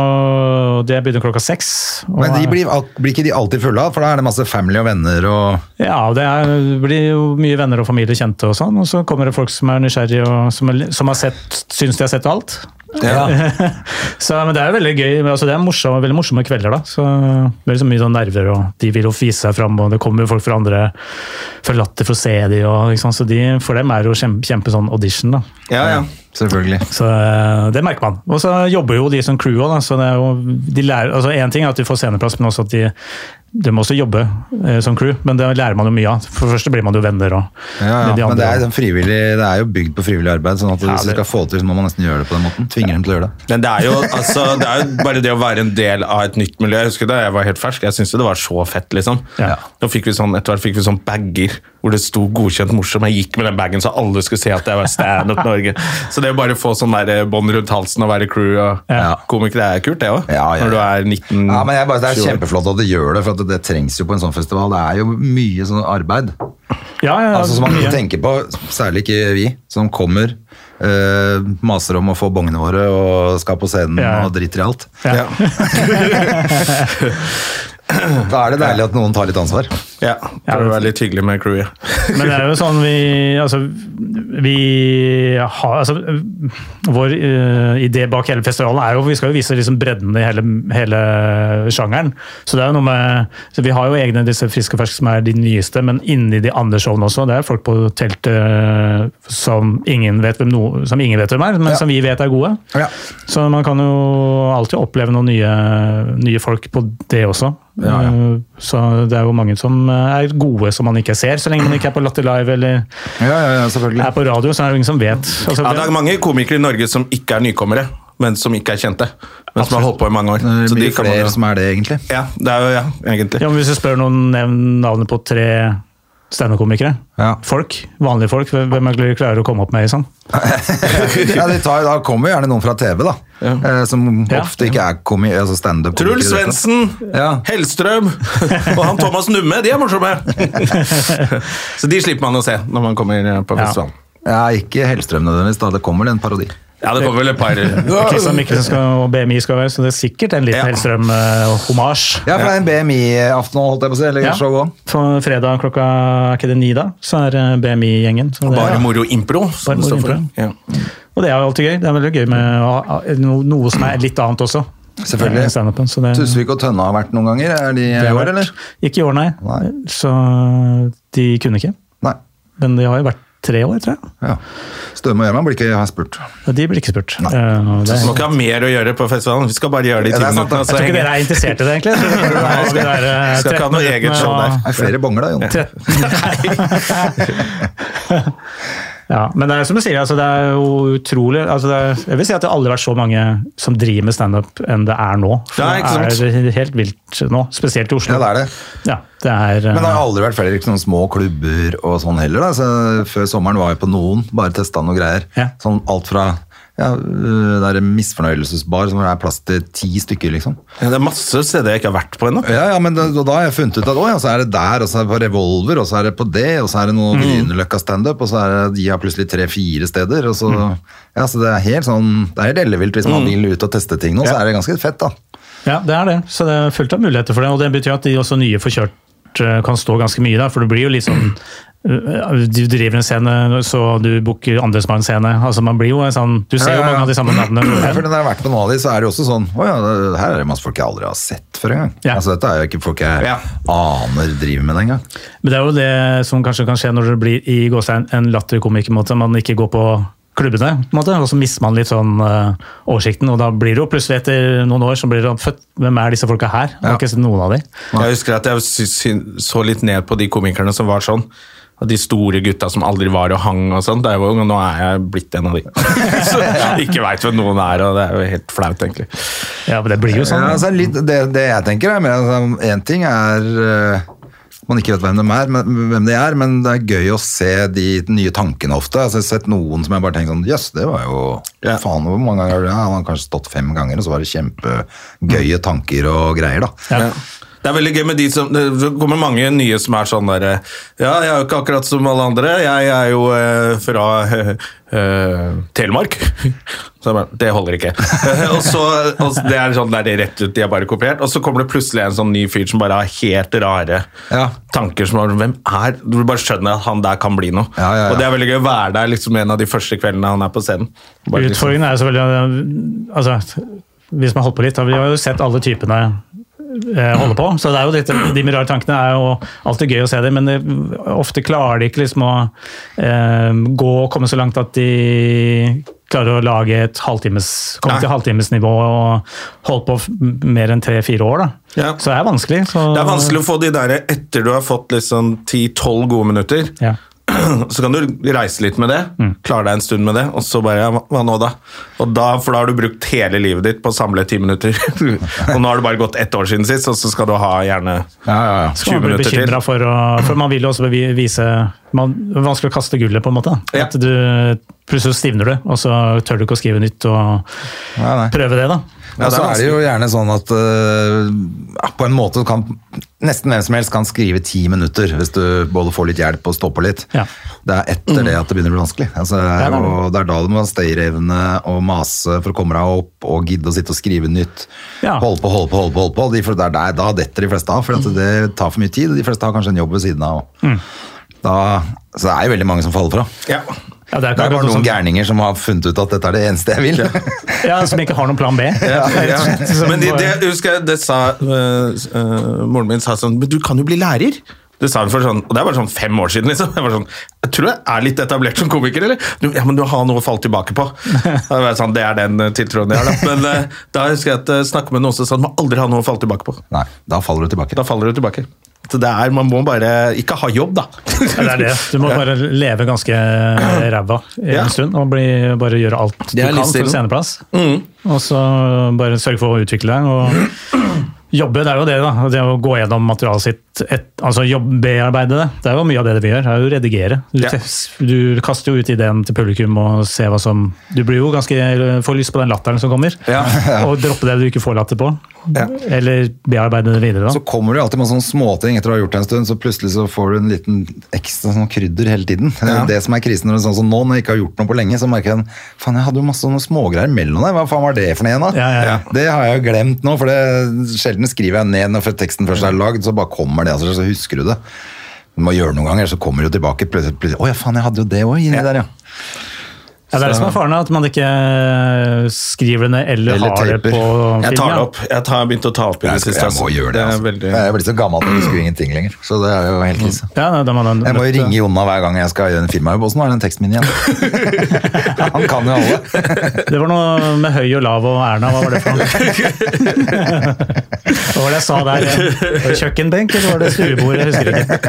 det begynner klokka seks. og- Men de blir, al- blir ikke de alltid fulle av, for da er det masse family og venner og Ja, det er, det blir jo mye venner og familie kjente og sånn. Og så kommer det folk som er nysgjerrige og som, er, som har sett, syns de har sett alt. så, men det er jo veldig gøy. men Altså, det er morsomme, veldig morsomme kvelder, da. Så, det er liksom mye sånn nerver, og de vil jo vise seg fram, og det kommer jo folk fra andre fra Latter for å se dem. Og, ikke sant? Så de, for dem er det jo kjempe, kjempe sånn audition, da. Ja, ja. Selvfølgelig. Så eh, det merker man. Og så jobber jo de som crew òg, så det er jo de lærer, altså Én ting er at de får sceneplass, men også at de de må også jobbe eh, som crew, men det lærer man jo mye av. For det første blir man jo venner og Ja, med de ja. Men andre. det er, sånn frivillig, det er jo bygd på frivillig arbeid, sånn at hvis du det- skal få det til, så må man nesten gjøre det på den måten. Tvinger dem til å gjøre det. Men det er, jo, altså, det er jo bare det å være en del av et nytt miljø. Jeg husker da jeg var helt fersk, jeg syntes jo det var så fett. liksom. Ja. Da fikk vi sånn, Etter hvert fikk vi sånn bager hvor det sto 'godkjent morsom'. Jeg gikk med den bagen så alle skulle se at jeg var standup Norge. Så det å bare få sånn der, eh, bånd rundt halsen og være crew og Ja. komiker, det er kult, det òg. Ja, ja, ja. Når du er 19 Mm. Ja, men jeg bare, Det er 20 år. kjempeflott at de gjør det, for at det trengs jo på en sånn festival. Det er jo mye sånn arbeid ja, ja, ja, altså, som man mye. ikke tenker på, særlig ikke vi, som kommer, eh, maser om å få bongene våre og skal på scenen Ja. og driter i alt. Ja. Da er det deilig at noen tar litt ansvar. Ja, Ja, Prøver å det- være litt hyggelig med crewet. Men det er jo sånn vi Altså, vi har altså, Vår eh, idé bak hele festivalen er jo Vi skal jo vise liksom bredden i hele, hele sjangeren. Så det er jo noe med så Vi har jo egne disse Frisk og fersk som er de nyeste, men inni de andre showene også. Det er folk på teltet som ingen vet hvem, no, som ingen vet hvem er, men Ja. som vi vet er gode. Ja. Så man kan jo alltid oppleve noen nye, nye folk på det også. Ja, ja. Eh, Så det er jo mange som eh, er gode som man ikke ser, så lenge man ikke er på Latter Live eller Ja, ja, ja, selvfølgelig. er på radio, så er det ingen som vet. Altså, Ja, det er mange komikere i Norge som ikke er nykommere, men som ikke er kjente. Men som har holdt på i mange år. Det Så de blir kan man flere jo- som er det, egentlig. Ja, det er jo ja, egentlig. ja, men hvis du spør noen nevn navnet på tre standup-komikere, Ja. folk, vanlige folk, hvem er det du klarer å komme opp med? Liksom? Ja, de tar, da kommer jo gjerne noen fra TV, da. eh, som Ja. ofte ikke er komi altså standup. Truls Svendsen, Ja. Hellstrøm og han Thomas Numme, de er morsomme! Så de slipper man å se når man kommer på festivalen. Ja, ikke Hellstrøm nødvendigvis, da. Det kommer vel en parodi. Ja, det kommer vel et par Kristian Mikkelsen skal, og BMI skal være, så det er sikkert en liten eh, Ja. Hellstrøm-homasj. Ja, for det er en BMI-aften holdt jeg på å si. Eller Ja. show også. For fredag klokka er ikke det ni, da, så er eh, BMI-gjengen. så det- Bare moro impro. Bare Som det moro står for. impro. Ja. Og det er jo alltid gøy. Det er veldig gøy med å ha- no- noe som er litt annet også. Selvfølgelig. Eh, standupen, så det- Tusvik og Tønne har vært noen ganger. Er de i det har år, vært- eller? Ikke i år, nei. Nei. Så de kunne ikke. Nei. Men de har jo vært tre år, tror jeg. Ja. Støme og Gjerman blir ikke har spurt. Og de blir ikke spurt. Eh, og det, Man må ikke ha mer å gjøre på festivalen. Vi skal bare gjøre det Ja, i ti det er sant, minutter. da. og så jeg tror ikke henger- dere er interessert i det, egentlig. Så det Nei, er skal- det der, eh, skal ikke ha 13 noe eget show minuttene og- Det er flere bonger da, Jon. Ja, men det er som du sier, altså, det er jo utrolig altså, det er, Jeg vil si at det har aldri vært så mange som driver med standup enn det er nå. For Nei, ikke sant. det er helt vilt nå, spesielt i Oslo. Ja, det er det. Ja, det er, eh, Men det har aldri vært flere sånne små klubber og sånn heller. Da. Så før sommeren var jeg på noen, bare testa noen greier. Ja. Sånn alt fra ja, øh, der misfornøyelsesbar som det er plass til ti stykker, liksom. Ja, Det er masse steder jeg ikke har vært på ennå. Ja, ja, men da, da har jeg funnet ut at «Å ja, så er det der, og så er det på Revolver, og så er det på det, og så er det noe Grünerløkka standup, og så er det, de har plutselig tre-fire steder, og så Ja, så det er helt sånn Det er helt ellevilt hvis man vil ut og teste ting nå, så er det ganske fett, da. Ja, det er det. Så det er fullt av muligheter for det. Og det betyr at de også nye får kjørt eh, kan stå ganske mye der, for det blir jo litt sånn eh, du driver en scene, så du booker andresmann scene. Altså, man blir jo en sånn, du Ja, ser ja, jo ja. mange av de samme Ja, For navnene. når jeg har vært på noen av de, så er det jo også sånn Å ja, det, her er det masse folk jeg aldri har sett før engang. Ja. Altså, dette er jo ikke folk jeg Ja. aner driver med det engang. Men det er jo det som kanskje kan skje når det blir i gåstein en latterkomiker, på en måte, man ikke går på klubbene, på en måte, og så mister man litt sånn eh, oversikten. Og da blir det jo plutselig etter noen år så blir det sånn, født, hvem er disse folka her? Jeg har ikke sett noen av de. Jeg husker at jeg sy- sy- så litt ned på de komikerne som var sånn. Og de store gutta som aldri var og hang og sånn. Da jeg var ung, og nå er jeg blitt en av de. Så ikke veit hvem noen er, og det er jo helt flaut, egentlig. Ja, men det blir jo sånn. Ja, altså, litt, det, det jeg tenker er mer altså, En ting er eh, man ikke vet hvem de er, men, hvem de er, men det er gøy å se de nye tankene ofte. Altså, jeg har sett noen som jeg bare tenker sånn Jøss, det var jo Ja. Faen, hvor mange ganger har du- ja, Han har kanskje stått fem ganger, og så var det kjempegøye tanker og greier, da. Ja. Det er veldig gøy med de som Det kommer mange nye som er sånn derre Ja, jeg er jo ikke akkurat som alle andre. Jeg er jo eh, fra eh, eh, Telemark. Så jeg bare, det holder ikke. Eh, og så, og så- Det er sånn der det er rett ut, de er bare kopiert. Og så kommer det plutselig en sånn ny fyr som bare har helt rare Ja. tanker. som er, Hvem er Du bare skjønner at han der kan bli noe. Ja, ja, ja. Og det er veldig gøy å være der liksom en av de første kveldene han er på scenen. Bare liksom- Utfordringen er jo selvfølgelig altså, Hvis man holder på litt, da, vi har jo sett alle typene eh, holde på. Så det er jo litt, de med rare tankene er jo alltid gøy å se dem, men det, ofte klarer de ikke liksom å eh, gå og komme så langt at de klarer å lage et halvtimes, komme Nei. til halvtimesnivå og holde på f- mer enn tre-fire år. Da. Ja. Så det er vanskelig. Så, Det er vanskelig å få de der etter du har fått liksom 10-12 gode minutter. Ja. Så kan du reise litt med det, klare deg en stund med det, og så bare ja, hva- Hva nå, da? Og da? For da har du brukt hele livet ditt på å samle ti minutter. og nå har det bare gått ett år siden sist, og så skal du ha gjerne Ja, ja, ja. 20 Skal man bli minutter til. bekymret for å For man vil jo også bevi- vise man, Det er vanskelig å kaste gullet, på en måte. Ja. At du, plutselig stivner du, og så tør du ikke å skrive nytt og Nei, nei. prøve det, da. Ja, det er så er det jo gjerne sånn at øh, ja, på en måte kan nesten hvem som helst kan skrive ti minutter hvis du både får litt hjelp og står på litt. Ja. Det er etter det at det begynner å bli vanskelig. Altså, det, Ja, er det er det. jo, det er da du må stayerevne og mase for å komme deg opp og gidde å sitte og skrive nytt. Ja. Holde på, holde på, holde på. holde på. De, for det er der, da detter de fleste av, for at det tar for mye tid. og De fleste har kanskje en jobb ved siden av. og Da, så det er jo veldig mange som faller fra. Ja. Ja, Det er akkurat bare noe noen som- gærninger som har funnet ut at dette er det eneste jeg vil. Ja, som ikke har noen plan B. Ja. Så Men det, bare- det husker jeg det sa øh, øh, Moren min sa sånn Men du kan jo bli lærer. Det sa hun for sånn, og det er bare sånn fem år siden. liksom. Jeg var sånn, jeg tror jeg er litt etablert som komiker, eller? Du, ja, men du har noe å falle tilbake på. Da var jeg sånn, Det er den øh, tiltroen jeg har. da. Men øh, da husker jeg at jeg snakket med noen som sa at man aldri har noe å falle tilbake på. Nei, da faller du tilbake. Da faller du tilbake. Så det er, Man må bare ikke ha jobb, da. Ja, det er det. Du må bare leve ganske eh, ræva i Ja. en stund og bli, bare gjøre alt du Det er kan for livsstilen. Mm. sceneplass. Og så bare sørge for å utvikle deg. og Jobbe, det er jo det, da. Det å gå gjennom materialet sitt et, altså jobb- bearbeide det. Det er jo mye av det vi gjør. Det er jo å redigere. Du, Ja. tes- du kaster jo ut ideen til publikum og ser hva som Du blir jo ganske får lyst på den latteren som kommer, Ja. og droppe det du ikke får latter på. Ja. Eller bearbeide det videre, Så da. kommer du alltid med sånne småting etter å ha gjort det en stund, så plutselig så får du en liten ekstra sånn krydder hele tiden. Det er jo det som er krisen når det er sånn som nå, når jeg ikke har gjort noe på lenge, så merker jeg faen, jeg hadde jo masse sånne smågreier mellom der, hva faen var det for noe igjen da? Ja, ja, ja. Det har jeg jo glemt nå, for det sjelden skriver jeg ned når teksten først er lagd, så bare kommer det, altså, så husker du det. Du må gjøre noen ganger, så kommer du tilbake plutselig. plutselig, Å ja, faen, jeg hadde jo det også inni der, ja. Ja, det er det som er faren, at man ikke eh, skriver det ned eller, Eller har det taper. på Jeg tar det film. opp. Jeg har begynt å ta opp i det Jeg, skal, siste. jeg må altså. gjøre det, er altså. veldig- Jeg er blitt så gammel at jeg husker ingenting lenger, så det er jo helt krise. Ja, da må den- Jeg må jo ringe Jonna hver gang jeg skal gjøre en filmjobb. Åssen er den teksten min igjen? Han kan jo alle. Det var noe med høy og lav og Erna, hva var det for noe? Hva var det jeg sa der? Var det Kjøkkenbenk, eller var det stuebord? Jeg husker ikke.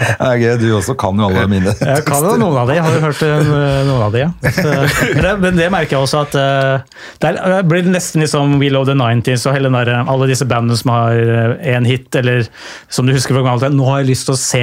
Det er gøy, du også kan jo alle mine. Jeg kan jo noen av de, jeg har jo hørt eh, noen av de, ja. Så, men, det, men det merker jeg også at eh, det er- det blir nesten litt som We Love the 90s og hele den der, eh, alle disse bandene som har én hit, eller som du husker fra gammelt av. Nå har jeg lyst til å se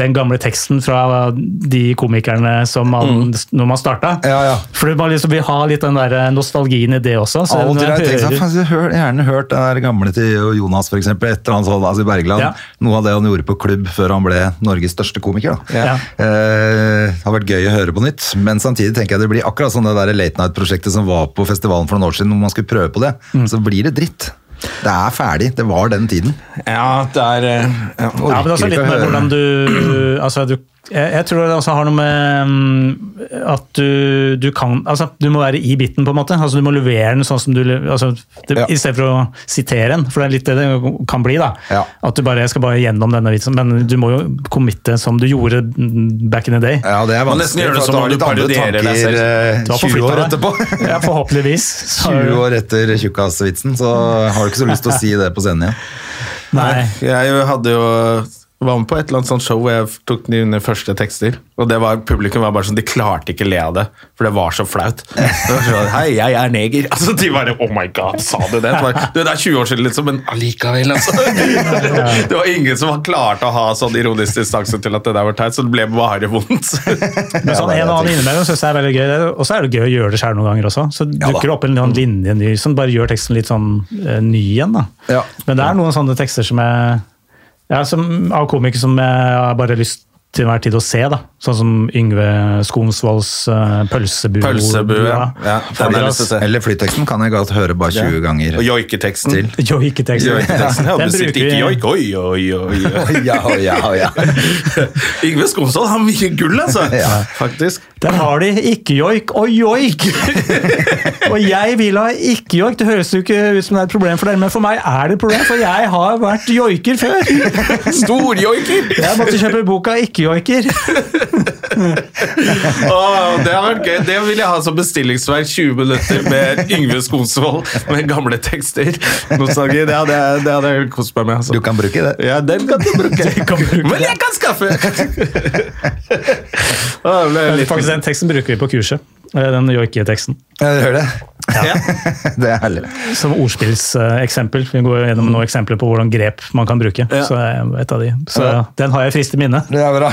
den gamle teksten fra de komikerne som man, når man starta. Ja, ja. For du bare liksom vil ha litt den der nostalgien i det også. så Av og når til har jeg tenkt hører- sånn, faen, jeg har gjerne hørt den der gamle til Jonas, for eksempel, etter han sånn, altså i Bergland. Ja. Noe av det han gjorde på klubb før han ble Norges største komiker. Da. Ja. Eh, det har vært gøy å høre på nytt, men samtidig tenker jeg det blir akkurat sånn det der late night-prosjektet som var på festivalen for noen år siden, hvor man skulle prøve på det. Mm. Så blir det dritt. Det er ferdig. Det var den tiden. Ja, det er eh, ja. Ja, men også Orker litt ikke å med høre. hvordan du Altså, du jeg, jeg tror det også har noe med mm, at du, du kan Altså, du må være i biten, på en måte. Altså, du må levere den sånn som du le- altså, det, Ja. I stedet for å sitere den, for det er litt det det kan bli, da. Ja. At du bare jeg skal bare gjennom denne vitsen, men du må jo committe som du gjorde mm, back in the day. Ja, det er Man vanskelig, nesten gjør det for at som om du du har litt andre parodierer deg tanker selv. eh, Du 20 år har forflyttet deg. etterpå. Ja, forhåpentligvis. Så- 20 år etter tjukkasvitsen, så har du ikke så lyst til å si det på scenen igjen. Nei. Jeg hadde jo var med på et eller annet sånt show hvor jeg tok mine første tekster. Og det var, publikum var bare sånn, de klarte ikke le av det, for det var så flaut. Det var sånn, Hei, jeg er neger. Altså, de bare Oh my god, sa du det? Det, var, du, det er 20 år siden, liksom, men allikevel, altså. Det var ingen som klarte å ha sånn ironisk distanse til at det der var teit, så det ble bare vondt. Men det er sånn, en og det annen innimellom synes jeg er veldig gøy. Det er- Og så er det gøy å gjøre det selv noen ganger også. Så Ja da. Mm. dukker det opp en sånn linje ny, som bare gjør teksten litt sånn eh, ny igjen. da. Ja. Men det er noen sånne tekster som jeg ja, som, av komikere som jeg har bare lyst til enhver tid å se. da. Sånn som Yngve Skomsvolds eh, Pølsebu. Pølsebu, ja. ja Ja, den har jeg lyst til å se. Eller flyteksten kan jeg godt høre bare 20 ganger. Og joiketeksten. Til. Joiketeksten. Joiketeksten. Ja, Den du sitter ikke bruker vi- joik. Oi, oi, oi. oi. Ja, ja, ja. Yngve Skomsvold har mye gull, altså. Ja. Faktisk. Der har de ikke-joik og joik! og jeg vil ha ikke-joik. Det høres jo ikke ut som det er et problem for dere, men for meg er det et problem, for jeg har vært joiker før! Storjoiker! Jeg måtte kjøpe boka Ikke-joiker. Åh, det har vært gøy. Det vil jeg ha som bestillingsverk. 20 minutter med Yngve Skonsvold med gamle tekster. Nostalgi. Det hadde jeg- det hadde jeg kost meg med. Altså. Du kan bruke det. Ja, den kan du bruke. kan bruke Men jeg kan skaffe! Åh, det ble litt- Faktisk Den teksten bruker vi på kurset. eh, Den joiketeksten. Ja, du hører det? Ja. Det er herlig. Som ordspillseksempel. Vi går gjennom noen eksempler på hvordan grep man kan bruke. Så det er et av de. Så Ja. den har jeg i friskt minne. Det er bra.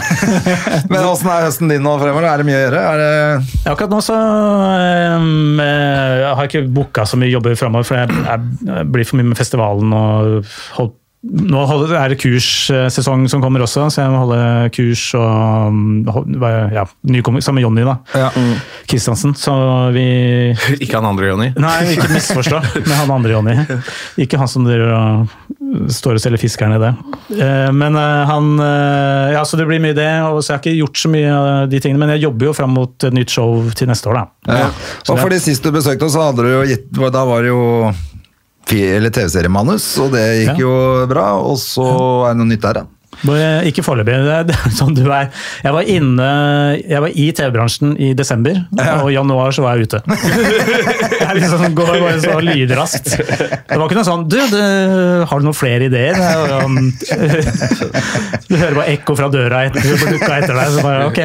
Men åssen er høsten din nå fremover? Er det mye å gjøre? Er det... Akkurat nå så ehm, eh, jeg har jeg ikke booka så mye jobber framover, for jeg, jeg, jeg blir for mye med festivalen. og hold, Nå holder, er det kurssesong som kommer også, så jeg må holde kurs og mm, hold- hva- ja, nykommer, sammen med Jonny da, Kristiansen. Så vi Ikke han andre, Jonny. Nei, ikke misforstå, men han andre Jonny. Ikke han som driver og står og selger fiskerne i det. Eh, Men eh, han eh, Ja, så det blir mye det, og så jeg har ikke gjort så mye av de tingene. Men jeg jobber jo fram mot et nytt show til neste år, da. Ja. Så Og det- fordi Sist du besøkte oss, så hadde du jo gitt, da var det jo fi- eller TV-seriemanus, og det gikk Ja. jo bra. Og så er det noe nytt der, ja. Bare- Ikke foreløpig. Det er- det er sånn du er. Jeg var inne Jeg var i TV-bransjen i desember, og i januar så var jeg ute. Jeg liksom går bare så lydraskt. Det var ikke noe sånn Du, det, har du noen flere ideer? Det er jo, um, Du hører bare ekko fra døra etter, du får dukka etter deg, så bare ok.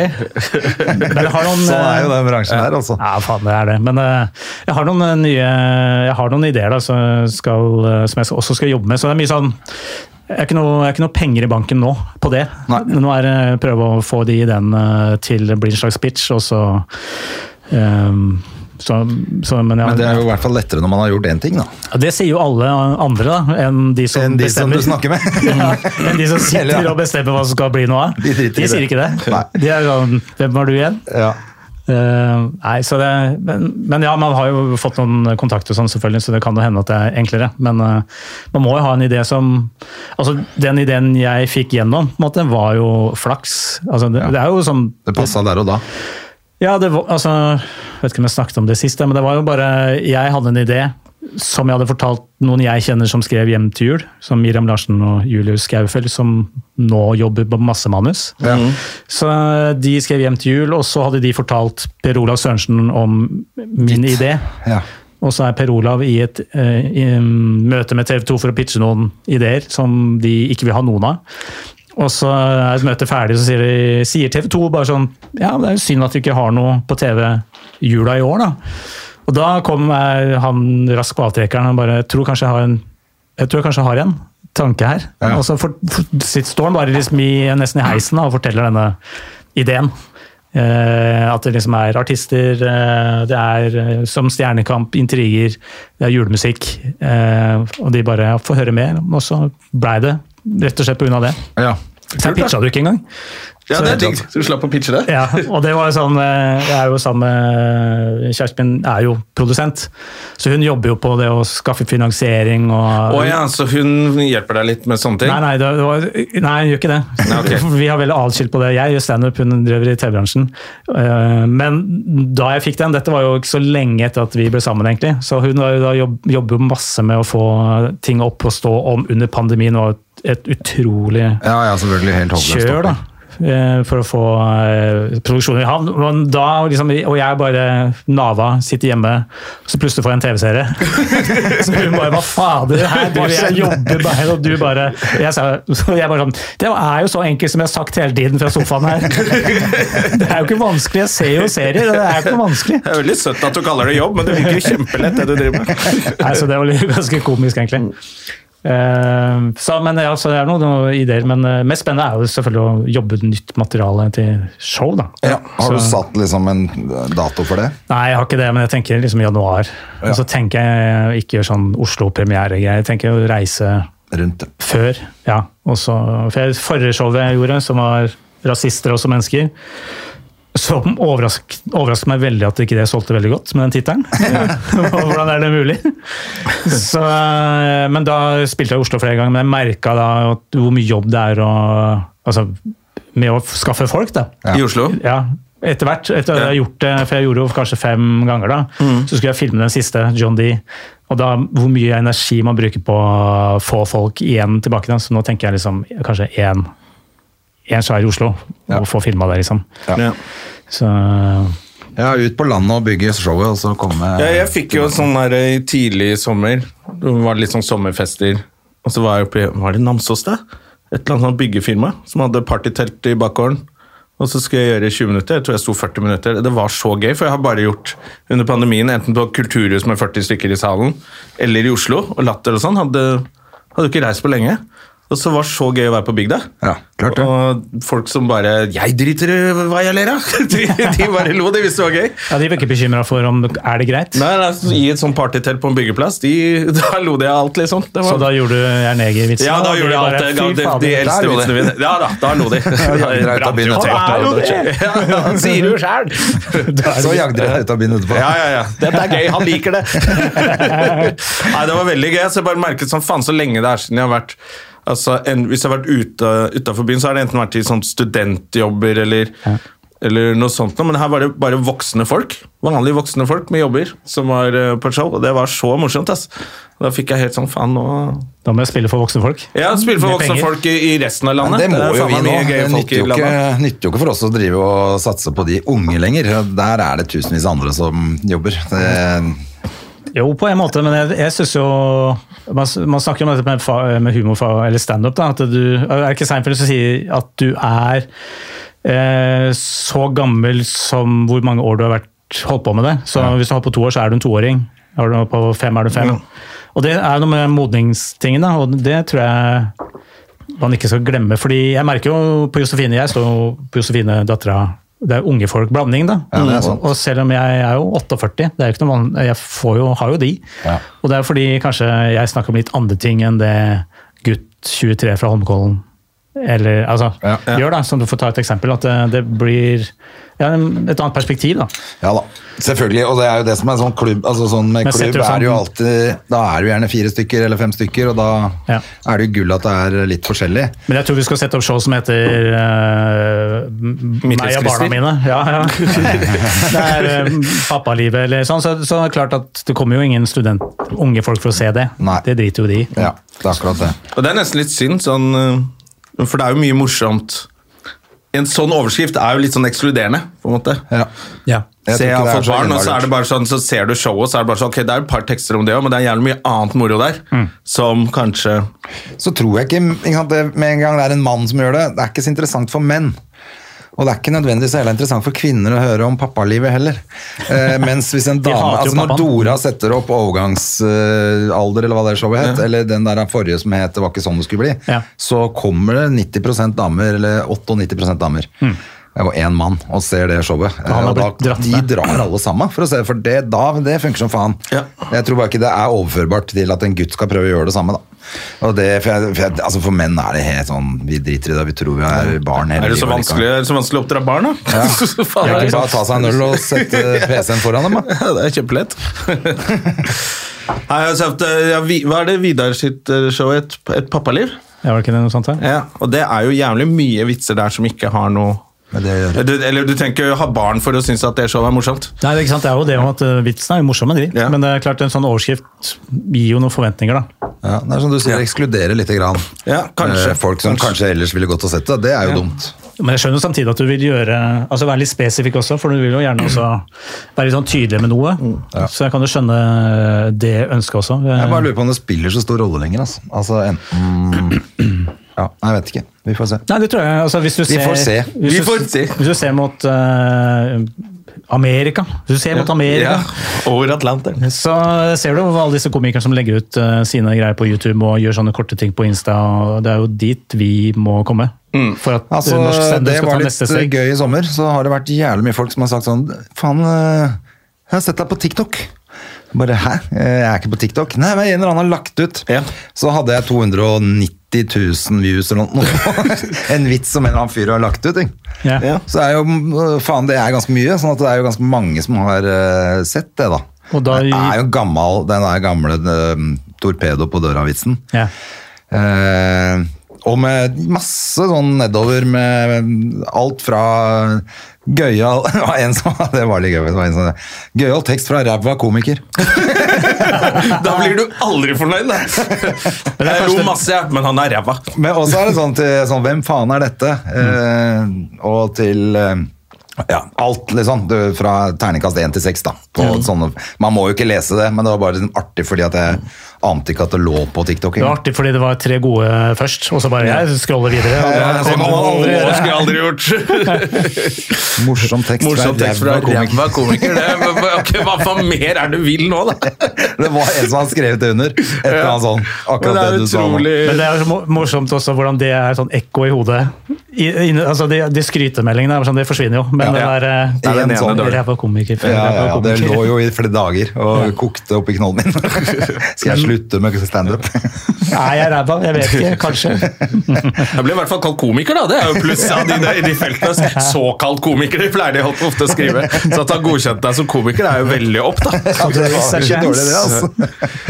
Men jeg har noen Sånn er jo den bransjen der, altså. ja, faen, det er det. Men eh, jeg har noen eh, nye Jeg har noen ideer da, som, jeg skal, eh, som jeg skal, også skal jobbe med. Så det er mye sånn jeg har, ikke noe, jeg har ikke noe penger i banken nå på det. Nei. Men Nå er det prøve å få de ideene eh, til det blir en slags pitch, og så, ehm, så, så men, ja, Men det er jo i hvert fall lettere når man har gjort én ting, da. Ja, det sier jo alle andre da, enn de som Enn de som bestemmer. du snakker med. Ja, enn de som Eller, sitter ja. og bestemmer hva som skal bli noe av. De driter i det. sier ikke det. Nei. De er sånn Hvem var du igjen? Ja. Eh, nei, så det, men, men ja, man har jo fått noen kontakter, og sånn selvfølgelig, så det kan jo hende at det er enklere. Men eh, man må jo ha en idé som altså Den ideen jeg fikk gjennom, på en måte, var jo flaks. Altså, det, Ja. det er jo som Det passa der og da. ja, det var, altså, jeg vet ikke om jeg snakket om det sist, men det var jo bare Jeg hadde en idé som jeg hadde fortalt noen jeg kjenner som skrev Hjem til jul. Som Miriam Larsen og Julius Gaufel, som nå jobber på masse manus. Ja. Så eh, de skrev Hjem til jul, og så hadde de fortalt Per Olav Sørensen om min idé. Ja. Og så er Per Olav i et eh, i, mm, møte med TV 2 for å pitche noen ideer som de ikke vil ha noen av. Og så er et møte ferdig, så sier, de, sier TV 2 bare sånn Ja, det er jo synd at vi ikke har noe på TV jula i år, da. Og da kom eh, han raskt på avtrekkeren og bare tror kanskje jeg har en jeg tror jeg kanskje jeg har en tanke her. Ja. Og så for, for, sitt- står han bare liksom i, nesten i heisen da, og forteller denne ideen. Eh, at det liksom er artister, eh, det er eh, som Stjernekamp, intriger, det er julemusikk. Eh, og de bare ja, får høre mer, og så blei det rett og slett pga. det. ja. Så jeg pitcha det jo ikke engang. Ja, det er digg. Så du slapp å pitche det? Ja, og det var jo sånn eh, Jeg er jo sammen med Kjæresten min er jo produsent, så hun jobber jo på det å skaffe finansiering og Å ja, så hun hjelper deg litt med sånne ting? Nei, nei, det var, nei, hun gjør ikke det. Nei, ok. Vi har veldig atskilt på det. Jeg gjør standup, hun driver i TV-bransjen. Eh, Men da jeg fikk den, dette var jo ikke så lenge etter at vi ble sammen, egentlig. Så hun har jo da jobb, jobber jo masse med å få ting opp og stå om under pandemien, og et, et utrolig ja, ja, selvfølgelig. Helt håpløst. kjør, da. eh, For å få eh, produksjonen i havn. Men da, liksom, og jeg bare nava, sitter hjemme, så plutselig får jeg en TV-serie. så hun bare Hva fader, her driver jeg og jobber bare, og du bare jeg, sa, så jeg bare sånn Det er jo så enkelt som jeg har sagt hele tiden fra sofaen her. det er jo ikke vanskelig. Jeg ser jo serier, det er jo ikke noe vanskelig. Det er veldig søtt at du kaller det jobb, men det virker jo kjempelett, det du driver med. Nei, så det var litt- ganske komisk, egentlig. Eh, så, men ja, så det er noen, noen ideer, men eh, mest spennende er jo selvfølgelig å jobbe nytt materiale til show, da. Ja. Har du Så- satt liksom en dato for det? Nei, jeg har ikke det, men jeg tenker liksom januar. Ja. Og så tenker jeg ikke gjøre sånn Oslo-premiere-greier. Jeg tenker å reise Rundt det. før, ja. Og så, for jeg, forrige showet jeg gjorde, som var rasister også mennesker, som overrask, overrasket meg veldig at ikke det solgte veldig godt med den tittelen. Hvordan er det mulig? Så, eh, men da spilte jeg i Oslo flere ganger, men jeg merka da at hvor mye jobb det er å altså, med å skaffe folk, da I Oslo? ja, etter hvert, etter at jeg har gjort det, for jeg gjorde jo kanskje fem ganger da, Mm. så skulle jeg filme den siste, John D. Og da, hvor mye energi man bruker på å få folk igjen tilbake da, så nå tenker jeg liksom, kanskje en, en svær i Oslo, Ja. og få filmet det liksom. Ja. Så, Ja, ut på landet og bygge showet, og så komme Ja, jeg fikk jo sånn der eh, tidlig i sommer. Det var litt sånn sommerfester. Og så var jeg oppe i Var det Namsos, da? Et eller annet sånt byggefirma som hadde partytelt i bakgården. Og så skulle jeg gjøre 20 minutter. Jeg tror jeg sto 40 minutter. Det var så gøy, for jeg har bare gjort under pandemien enten på kulturhus med 40 stykker i salen, eller i Oslo, og latter og sånn. Hadde, hadde jo ikke reist på lenge. Og så var det så gøy å være på bygda. Ja, klart det. Og folk som bare 'Jeg driter i hva jeg ler av!' De, de bare lo, de visste det var gøy. ja, de var ikke bekymret for om, er det greit? Nei, nei, så I et sånt partytelt på en byggeplass, de, da lo de av alt, liksom. Det var, Så da gjorde du Jerneger-vitsen? ja, da gjorde de alt. det. Da- de, de eldste lo de. vitsene mine. Ja da, da lo de. jagde deg ut av byen etterpå. Ja, Han er jo det! Ja, han sier jo sjæl! Så jagde dere deg ut av byen etterpå. Ja, ja, ja. Dette er gøy, han liker det! Nei, det var veldig gøy. Så jeg bare merket sånn, faen så lenge det er siden jeg har vært Altså, en, Hvis jeg har vært ute, utenfor byen, så har det enten vært i sånn studentjobber eller eller noe sånt. noe, Men her var det bare voksne folk. Vanlige voksne folk med jobber som var eh, på et show. Og det var så morsomt, ass. Da fikk jeg helt sånn faen nå Da må jeg spille for voksne folk. Ja, spille for Mye voksne penger. folk i, i resten av Men landet. det må er jo faen vi meg nå. mye Det gøy folk nytter i jo, ikke, landet. nytter jo ikke for oss å drive og satse på de unge lenger. Der er det tusenvis av andre som jobber. Det, Jo, på en måte, men jeg, jeg syns jo man, man snakker jo om dette med, fa- med humor fa- eller standup. da, at du- Er det ikke Seinfeld som sier at du er eh, så gammel som hvor mange år du har vært, holdt på med det? Så hvis du har holdt på to år, så er du en toåring. Har du holdt på fem, er du fem. Og det er noe med modningstingen, da, og det tror jeg man ikke skal glemme. fordi jeg merker jo på Josefine, jeg står jo på Josefine, dattera Det er unge folk, blanding, da. Ja, det er sant. Og selv om jeg er jo 48, det er jo ikke noe vann, jeg får jo, har jo de. Ja. Og det er fordi kanskje jeg snakker om litt andre ting enn det gutt 23 fra Holmkollen eller, altså, Ja, ja. gjør, da, som du får ta et eksempel. At det, det blir ja, et annet perspektiv, da. ja da, selvfølgelig. Og det er jo det som er sånn klubb. Altså sånn med Men setter klubb du er det jo sammen- alltid Da er det jo gjerne fire stykker eller fem stykker, og da Ja. er det jo gull at det er litt forskjellig. Men jeg tror vi skal sette opp show som heter eh, m- Meg og barna Midtlivskriser. mine. Ja, ja. det er eh, pappalivet eller sånn. Så, så er det klart at det kommer jo ingen student, unge folk for å se det. Nei. Det driter jo de i. Ja, det er akkurat det. Og det er nesten litt synd, sånn, øh, for det er jo mye morsomt. En sånn overskrift er jo litt sånn ekskluderende, på en måte. Ja. Jeg Se, tror jeg ikke har det er fått så barn, og så innmari er det lurt. bare sånn, så ser du showet, så er det bare sånn, ok, det er et par tekster om det også, men det er jævlig mye annet moro der, som kanskje... så tror jeg ikke, ikke sant, det, Med en gang det er en mann som gjør det, det er ikke så interessant for menn. Og det er ikke nødvendigvis så heller interessant for kvinner å høre om pappalivet heller. Eh, mens hvis en dame, hater jo altså Når pappaen. Dora setter opp overgangsalder, eller hva det showet het, eller den der forrige som het 'Det var ikke sånn det skulle bli', Ja. så kommer det 90 damer, eller 98 damer. Og én mann, og ser det showet. Eh, Mm. han har og da, blitt dratt de med. drar alle sammen, for å se, for det, da, det funker som faen. Ja. Jeg tror bare ikke det er overførbart til at en gutt skal prøve å gjøre det samme. da. Og det, for, jeg, for, jeg, altså for menn er det helt sånn Vi driter i det, vi tror vi er barn hele Er det så livet, vanskelig, er det så vanskelig å oppdra barn, da? Ja. Kan Faen, ikke det er bare ta seg en øl og sette PC-en foran dem, da? Ja, det er kjempelett. Nei, jeg har sagt, eh, ja, vi- hva er det Vidar sitt eh, show het? Et pappaliv? Ja, var det ikke noe sånt her? Ja, og det er jo jævlig mye vitser der som ikke har noe Med det å gjøre. du, Eller du trenger ikke ha barn for å synes at det showet er morsomt. Nei, det er, ikke sant? det er jo det om at eh, vitsen er jo morsom, men, de. Ja. men det er klart en sånn overskrift gir jo noen forventninger, da. Ja, det er som du sier, ekskludere lite grann. Ja, kanskje. Eh, Folk som kanskje ellers ville gått og sett det. Det er jo dumt. Men jeg skjønner jo samtidig at du vil gjøre, altså være litt spesifikk også, for du vil jo gjerne også være litt sånn tydelig med noe. Så jeg kan jo skjønne eh, det ønsket også. Mm. Jeg bare lurer på om det spiller så stor rolle lenger, altså. Altså enten Ja, nei, jeg vet ikke. Vi får se. Nei, det tror jeg. Altså, hvis du Vi ser, får se. Hvis Vi du, får se. Hvis du ser mot eh, Amerika, hvis du ser mot Amerika, Ja, over Atlanteren. så ser du jo alle disse komikerne som legger ut eh, sine greier på YouTube og gjør sånne korte ting på Insta. og Det er jo dit vi må komme. For at eh, Altså, norsk standup det skal var ta litt neste eh, steg. gøy i sommer. Så har det vært jævlig mye folk som har sagt sånn Faen, eh, jeg har sett deg på TikTok. Bare hæ? Eh, Jeg er ikke på TikTok. Nei, men en eller annen har lagt ut. Ja. Så hadde jeg 290 000 views eller noe. en vits som en eller annen fyr har lagt ut. Ikke? Ja. Ja. Så er jo, øh, faen, det er ganske mye, sånn at det er jo ganske mange som har øh, sett det, da. Og da- Den er jo gammel, den er gamle øh, torpedo på døra-vitsen. Ja. Eh, og med masse sånn nedover med alt fra gøyal Det var en som Det var litt gøy. Det var en sånn, gøyal tekst fra ræva komiker. Da blir du aldri fornøyd, da! Jeg lo masse, jeg, men han er ræva. Men også er det sånn til sånn, Hvem faen er dette? Eh, og til eh, ja, alt, liksom. Du, fra terningkast én til seks, da. På sånne, man må jo ikke lese det, men det var bare liksom artig fordi at jeg ante ikke at det lå på TikTok. Det var engang. artig fordi det var tre gode først, og så bare jeg scroller videre. Og Ja, da, ja, Det sånn må må man aldri gjøre. skulle jeg aldri gjort. Morsom tekst Morsom tekst fra ræva komiker. ræva komiker. Det, men- men, ok, hva faen mer er det du vil nå, da? Det var en som hadde skrevet det under. Et eller annet sånn. Men Akkurat det, du sa. nå. Men det er jo så mo- morsomt også hvordan det er sånn ekko i hodet. I, inne- altså de, de skrytemeldingene er sånn, det forsvinner jo, men det Ja. der eh, Det er den En ene sånn- dårlig. ræva komiker Ja, før ja, ræva ja, det komiker. lå jo i flere dager og kokte oppi knollen min. Skal jeg slutte med standup? Er jeg ræva? Jeg vet ikke, kanskje. Jeg ble i hvert fall kalt komiker, da. Det er jo plusset av de, der- i de feltene. Såkalt komiker, det pleier de ofte å skrive. Så at han godkjente deg som komiker, er jo veldig opp, da. Ja, det var ikke dårlig det, altså.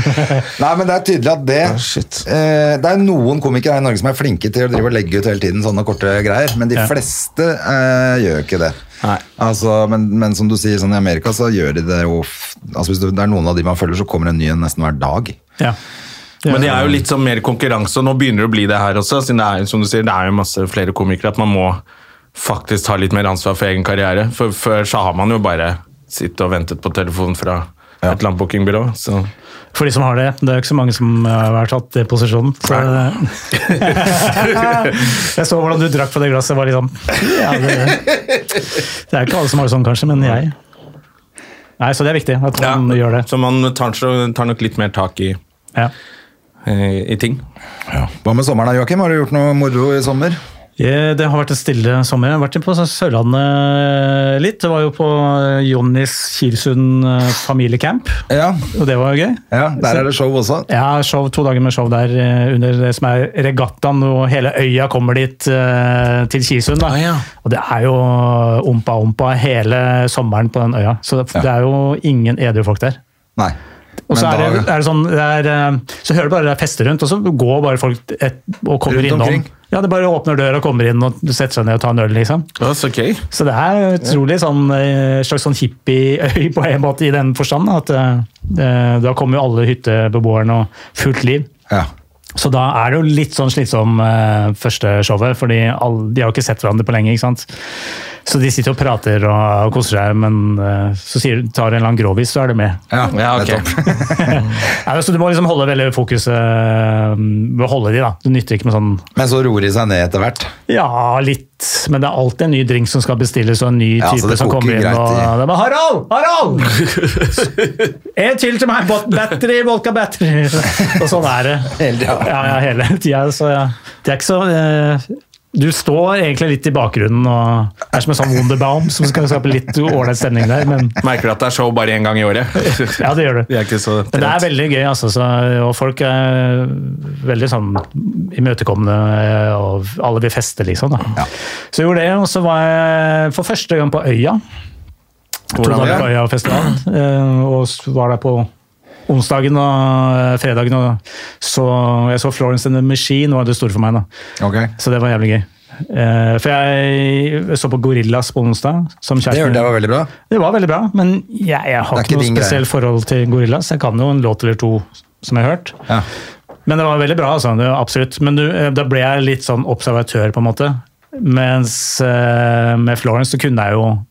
Nei, men det er tydelig at det eh, Det er noen komikere her i Norge som er flinke til å drive og legge ut hele tiden sånne korte greier, men de Ja. fleste eh, gjør jo ikke det. Nei. Altså, men, men som du sier, sånn i Amerika så gjør de det jo f- altså Hvis det er noen av de man følger, så kommer det en ny en nesten hver dag. Ja. Men det er jo litt sånn mer konkurranse, og nå begynner det å bli det her også. Siden det er, som du sier, det er jo masse flere komikere, at man må faktisk ta litt mer ansvar for egen karriere. For Før så har man jo bare sittet og ventet på telefon fra et eller annet bookingbyrå. Så. For de som har det. Det er jo ikke så mange som eh, har vært tatt i posisjonen. Så jeg så hvordan du drakk på det glasset. Var litt sånn, ja, det, det er ikke alle som har det sånn, kanskje, men jeg. Nei, Så det er viktig at man gjør det. Så man tar, så- tar nok litt mer tak i, Ja. eh, i ting. Hva med sommeren da, Joakim? Har du gjort noe moro i sommer? Eh, Det har vært en stille sommer. Jeg har vært på sånn Sørlandet eh, litt. Det var jo på Jonnis Kilsund eh, familiecamp, Ja, og det var jo gøy. ja der er det show også. Jeg har show, to dager med show der eh, under det som er regattaen, og hele øya kommer dit eh, til Kilsund. Da. Ah, ja. Og det er jo ompa-ompa hele sommeren på den øya, så det, det er jo ingen edru folk der. Nei. Og så Men er det, da- er det sånn, det er, eh, så hører du bare det er fester rundt, og så går bare folk et, og kommer Rundt innom. omkring? Ja, det bare åpner døra og kommer inn og setter seg ned og tar en øl, liksom. Ja, så gøy. Så det er utrolig sånn, eh, slags sånn hippieøy på en måte i den forstand, at eh, da kommer jo alle hyttebeboerne og fullt liv. Ja. Så da er det jo litt sånn slitsom eh, første showet, fordi alle, de har jo ikke sett hverandre på lenge. ikke sant? Så de sitter og prater og koser seg, men eh, så sier, tar en eller annen grovis, så er det med. Ja, Ja, ok. nettopp. Ja, så du må liksom holde veldig fokuset eh, Holde de, da. Det nytter ikke med sånn Men så roer de seg ned etter hvert. Ja, litt, men det er alltid en ny drink som skal bestilles, og en ny Ja, så type det som koker kommer inn. greit i- Og det er bare, Harald! Harald! en til til meg! Bot- Battery, vodka battery! Og sånn er det. Hele tida. Ja, ja, hele tida. Så ja. det er ikke så eh, Du står egentlig litt i bakgrunnen og er som en sånn Wonderbaum som skal skape litt ålreit stemning der, men Merker at det er show bare én gang i året. ja, det gjør du. Det er ikke så Men det er veldig gøy, altså. Så, og folk er veldig sånn imøtekommende, eh, og alle vil feste, liksom. Da. Så jeg gjorde det, og så var jeg for første gang på Øya. To Hvordan var dager på det? Øyafestivalen. eh, Og s- var der på onsdagen og eh, fredagen. Og så, jeg så Florence and the Machine, var det store for meg. da. Ok. Så det var jævlig gøy. Eh, For jeg så på Gorillas på onsdag. Som Det, kjæresten det var veldig bra. det var veldig bra, men jeg, jeg har Det er ikke ikke noe din greie. spesielt forhold til Gorillas. Jeg kan jo en låt eller to som jeg har hørt. Ja. Men det var veldig bra, altså. Det var absolutt. Men du, eh, da ble jeg litt sånn observatør, på en måte. Mens eh, med Florence så kunne jeg jo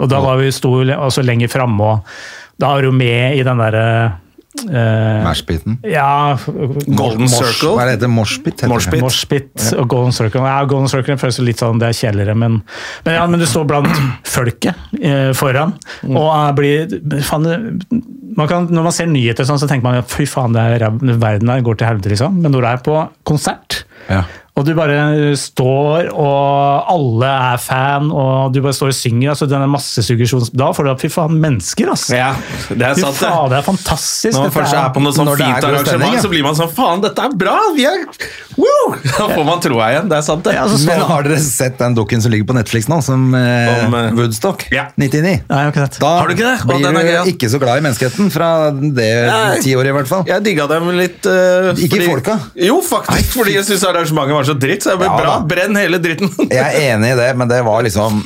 Og da var vi sto le- altså lenger framme, og da er du med i den derre eh, Mashpiten. Ja Golden Mosh- Circle. Hva er det heter? Moshpit? heter det. Moshpit. Moshpit og Golden Circle. Ja, Golden Circle føles litt sånn, det er kjedeligere, men, men, ja, men du står blant folket eh, foran, Mm. og eh, blir faen, det- man kan, Når man ser nyheter sånn, så tenker man at fy faen, det er ræv- verden her går til helvete, liksom. Men når du er på konsert, Ja. og du bare står, og alle er fan, og du bare står og synger, altså den massesuggesjons... Da får du at fy faen, mennesker, ass! Ja, det er Fy sant, det. faen, det er fantastisk! Når man Dette først er på noe sånn når det er god fint stemning, arrangement, ja. så blir man sånn Faen, dette er bra! Vi er Woo! Da får man troa igjen. Det er sant, det. Ja, så Men står- har dere sett den dukken som ligger på Netflix nå, som eh, Om, eh, Woodstock? ja. 99. Nei, jeg har ikke sett. Da Har du ikke det? Å, den er blir gøy, ja. du ikke så glad i menneskeheten fra det Nei. tiåret, i hvert fall. Jeg digga dem litt eh, Ikke folka? Jo, faktisk, fordi jeg syns arrangementet var så dritt. Så jeg ble Ja, bra. da. Brenn hele dritten. Jeg er enig i det, men det var liksom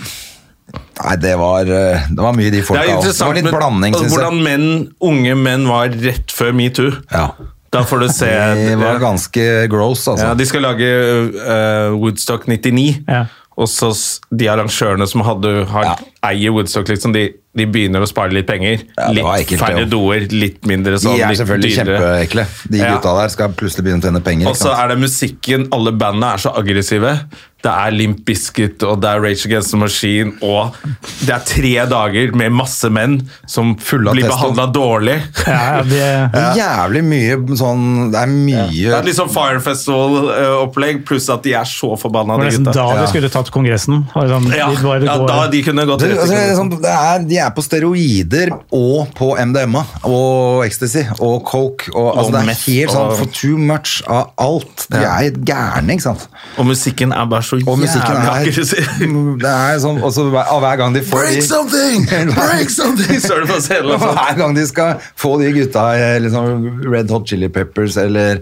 Nei, det var, eh, det var mye de Det folka også. er Det var interessant litt men- blanding, altså, syns jeg. hvordan menn, unge menn var rett før metoo. Ja. Da får du se De var ganske gross, altså. ja, De skal lage eh, Woodstock 99, Ja. og så s- de arrangørene som hadde, har, Ja. eier Woodstock, liksom, de, de begynner å spare litt penger. Ja, det var litt ekkelt, færre det doer, litt mindre sånn. De er litt selvfølgelig dyrere. kjempeekle. De Ja. gutta der skal plutselig begynne å tjene penger. Og ikke så sant? er det musikken, alle bandene er så aggressive. Det er Limp Bizkit, og det er Rage Against the Machine, og det er tre dager med masse menn som Fulle av blir testo. behandla dårlig. Ja, ja, det- Det er jævlig mye sånn Det er mye Det er liksom Fire Festival-opplegg, pluss at de er så forbanna, Det var de nesten gutta. da Ja. vi skulle tatt Kongressen. Liksom, Ja, de bare ja, går- da de kunne gått Det, rett i altså, det er kongressen. sånn- det er, de er på steroider og på MDMA og ecstasy og coke. Og, altså, Og det er meth helt sånn og- for too much av alt. De Ja. er gærne, ikke sant? Og musikken er bare så sånn- Og musikken jævlig er, aggressiv. det er sånn og så hver, hver gang de får Break de- something! Break something! Så er det på scenen, Og altså. Hver gang de skal få de gutta i eh, liksom Red Hot Chili Peppers eller,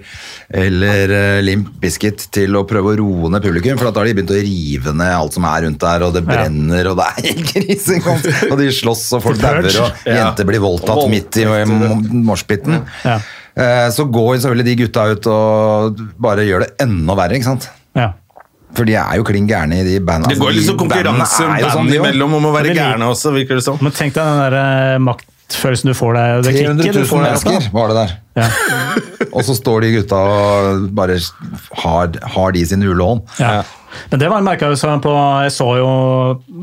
eller eh, Limp Bizkit til å prøve å roe ned publikum, for at da har de begynt å rive ned alt som er rundt der, og det brenner, og det er helt grisegodt. Og de slåss, og folk The Purge. dauer, og Ja. jenter blir voldtatt Og midt i eh, m- moshpiten. Ja. Eh, Så går jo selvfølgelig de gutta ut og bare gjør det enda verre, ikke sant? Ja. For de er jo klin gærne i de bandene. Det går litt sånn konkurranse sånn, band imellom om å være Men det lik- gærne også, virker det som. Men tenk deg den der eh, maktfølelsen du får der. og Det 300 kicket du 000 får der. altså. mennesker var det der. Ja. Og så står de gutta og bare har, har de sin ulån. Ja. Men det var en merkelse på Jeg så jo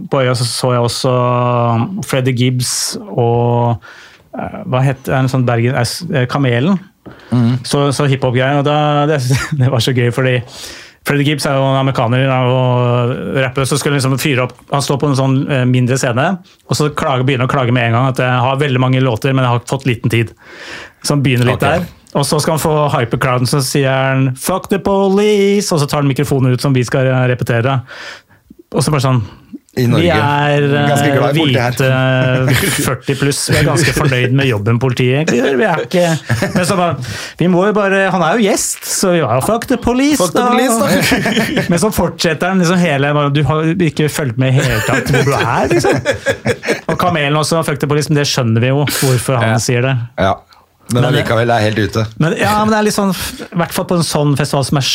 på øya så, så jeg også Freddy Gibbs og eh, hva het en sånn Bergen eh, Kamelen. Så, så hiphop-greier. og da- Det, det var så gøy, fordi Freddy Gibbs er jo en amerikaner han er jo rapper, så skulle han liksom fyre opp Han står på en sånn eh, mindre scene, og så klager, begynner han å klage med en gang at jeg har veldig mange låter, men jeg har fått liten tid. Så han begynner litt Ok. der. Og så skal han få hype crowden, så sier han 'fuck the police', og så tar han mikrofonen ut som vi skal eh, repetere. Og så bare sånn I Vi Norge. er eh, Ganske glad i politiet her. hvite 40 Eh, pluss. Vi er ganske fornøyd med jobben politiet egentlig gjør. Vi er ikke Men så bare Vi må jo bare Han er jo gjest, så vi var jo fuck the police, Fuck the police, da. Men så fortsetter han liksom hele bare, Du har ikke fulgt med i hele tatt hvor du er, liksom. Og Kamelen også, fuck the police, men det skjønner vi jo hvorfor han Ja. sier det. Ja. Men allikevel er helt ute. Men, ja, men det er litt sånn, i hvert fall på en sånn festival som er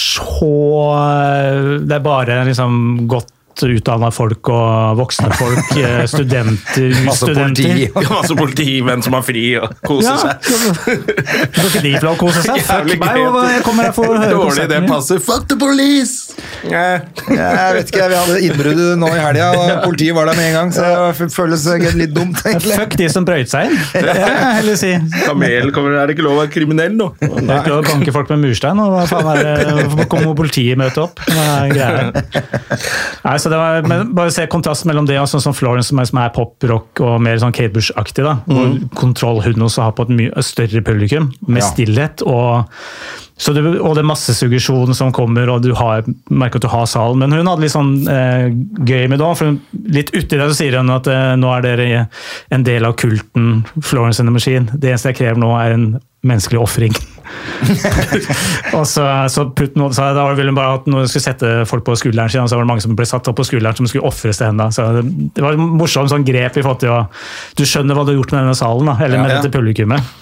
så eh, Det er bare liksom godt utdanna folk og voksne folk, eh, studenter, Altså, Masse Altså, politi. studenter. Ja, Masse politimenn som har fri og Ja, koser kan seg. ikke de få lov å kose seg? Fuck Jævlig meg, gøy at- og jeg kommer her for å høre Dårlig, det konserten min. passer. Fuck the police! Ja. Jeg vet ikke, Vi hadde innbrudd nå i helga, og politiet var der med en gang. Så det føles litt dumt, egentlig. Fuck de som brøyt seg inn. Ja, Eller si Det Kamel kommer, er det ikke lov å være kriminell nå? er ikke lov å banke folk med murstein. og Hva faen er det? Hvorfor kommer politiet møte opp? Hva er greia? Nei, så det var, men bare se kontrasten mellom det og sånn som Florence, som er, som er pop-rock og mer sånn Kate Bush-aktig. da, Hvor kontroll hun også har på et mye større publikum, med Ja. stillhet. og så du, og det er massesuggesjon som kommer, og du har, merker at du har salen. Men hun hadde litt sånn eh, gøy med det òg, for hun, litt uti det så sier hun at eh, nå er dere en del av kulten Florence and the Machine. Det eneste jeg krever nå, er en menneskelig ofring. Og så, så putt noe, så da ville hun bare at noen skulle sette folk på skulderen sin, og så var det mange som ble satt opp på skulderen som skulle ofres til henne. da. Så det, det var et morsomt sånn grep i forhold til å Du skjønner hva du har gjort med denne salen, da, eller med Ja, ja. dette publikummet.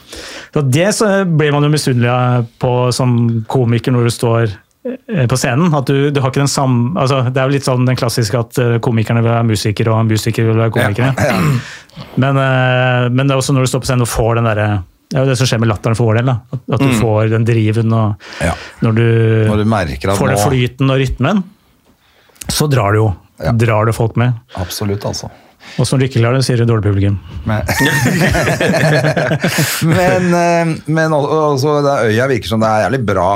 Så det så blir man jo misunnelig av på som komiker når du står eh, på scenen, at du, du har ikke den samme altså, Det er jo litt sånn den klassiske at eh, komikerne vil være musikere, og musikere vil være komikere. Men, eh, men det er også når du står på scenen og får den derre det er jo det som skjer med latteren for vår del. da. At- At du får den driven og Mm. Ja. når du, Når du merker at får den nå- flyten og rytmen, så drar du jo. Ja. Drar du folk med. Absolutt, altså. Og som du ikke klarer det, sier du dårlig publikum. Men, men, eh, men al- altså, det er- øya virker som det er jævlig bra.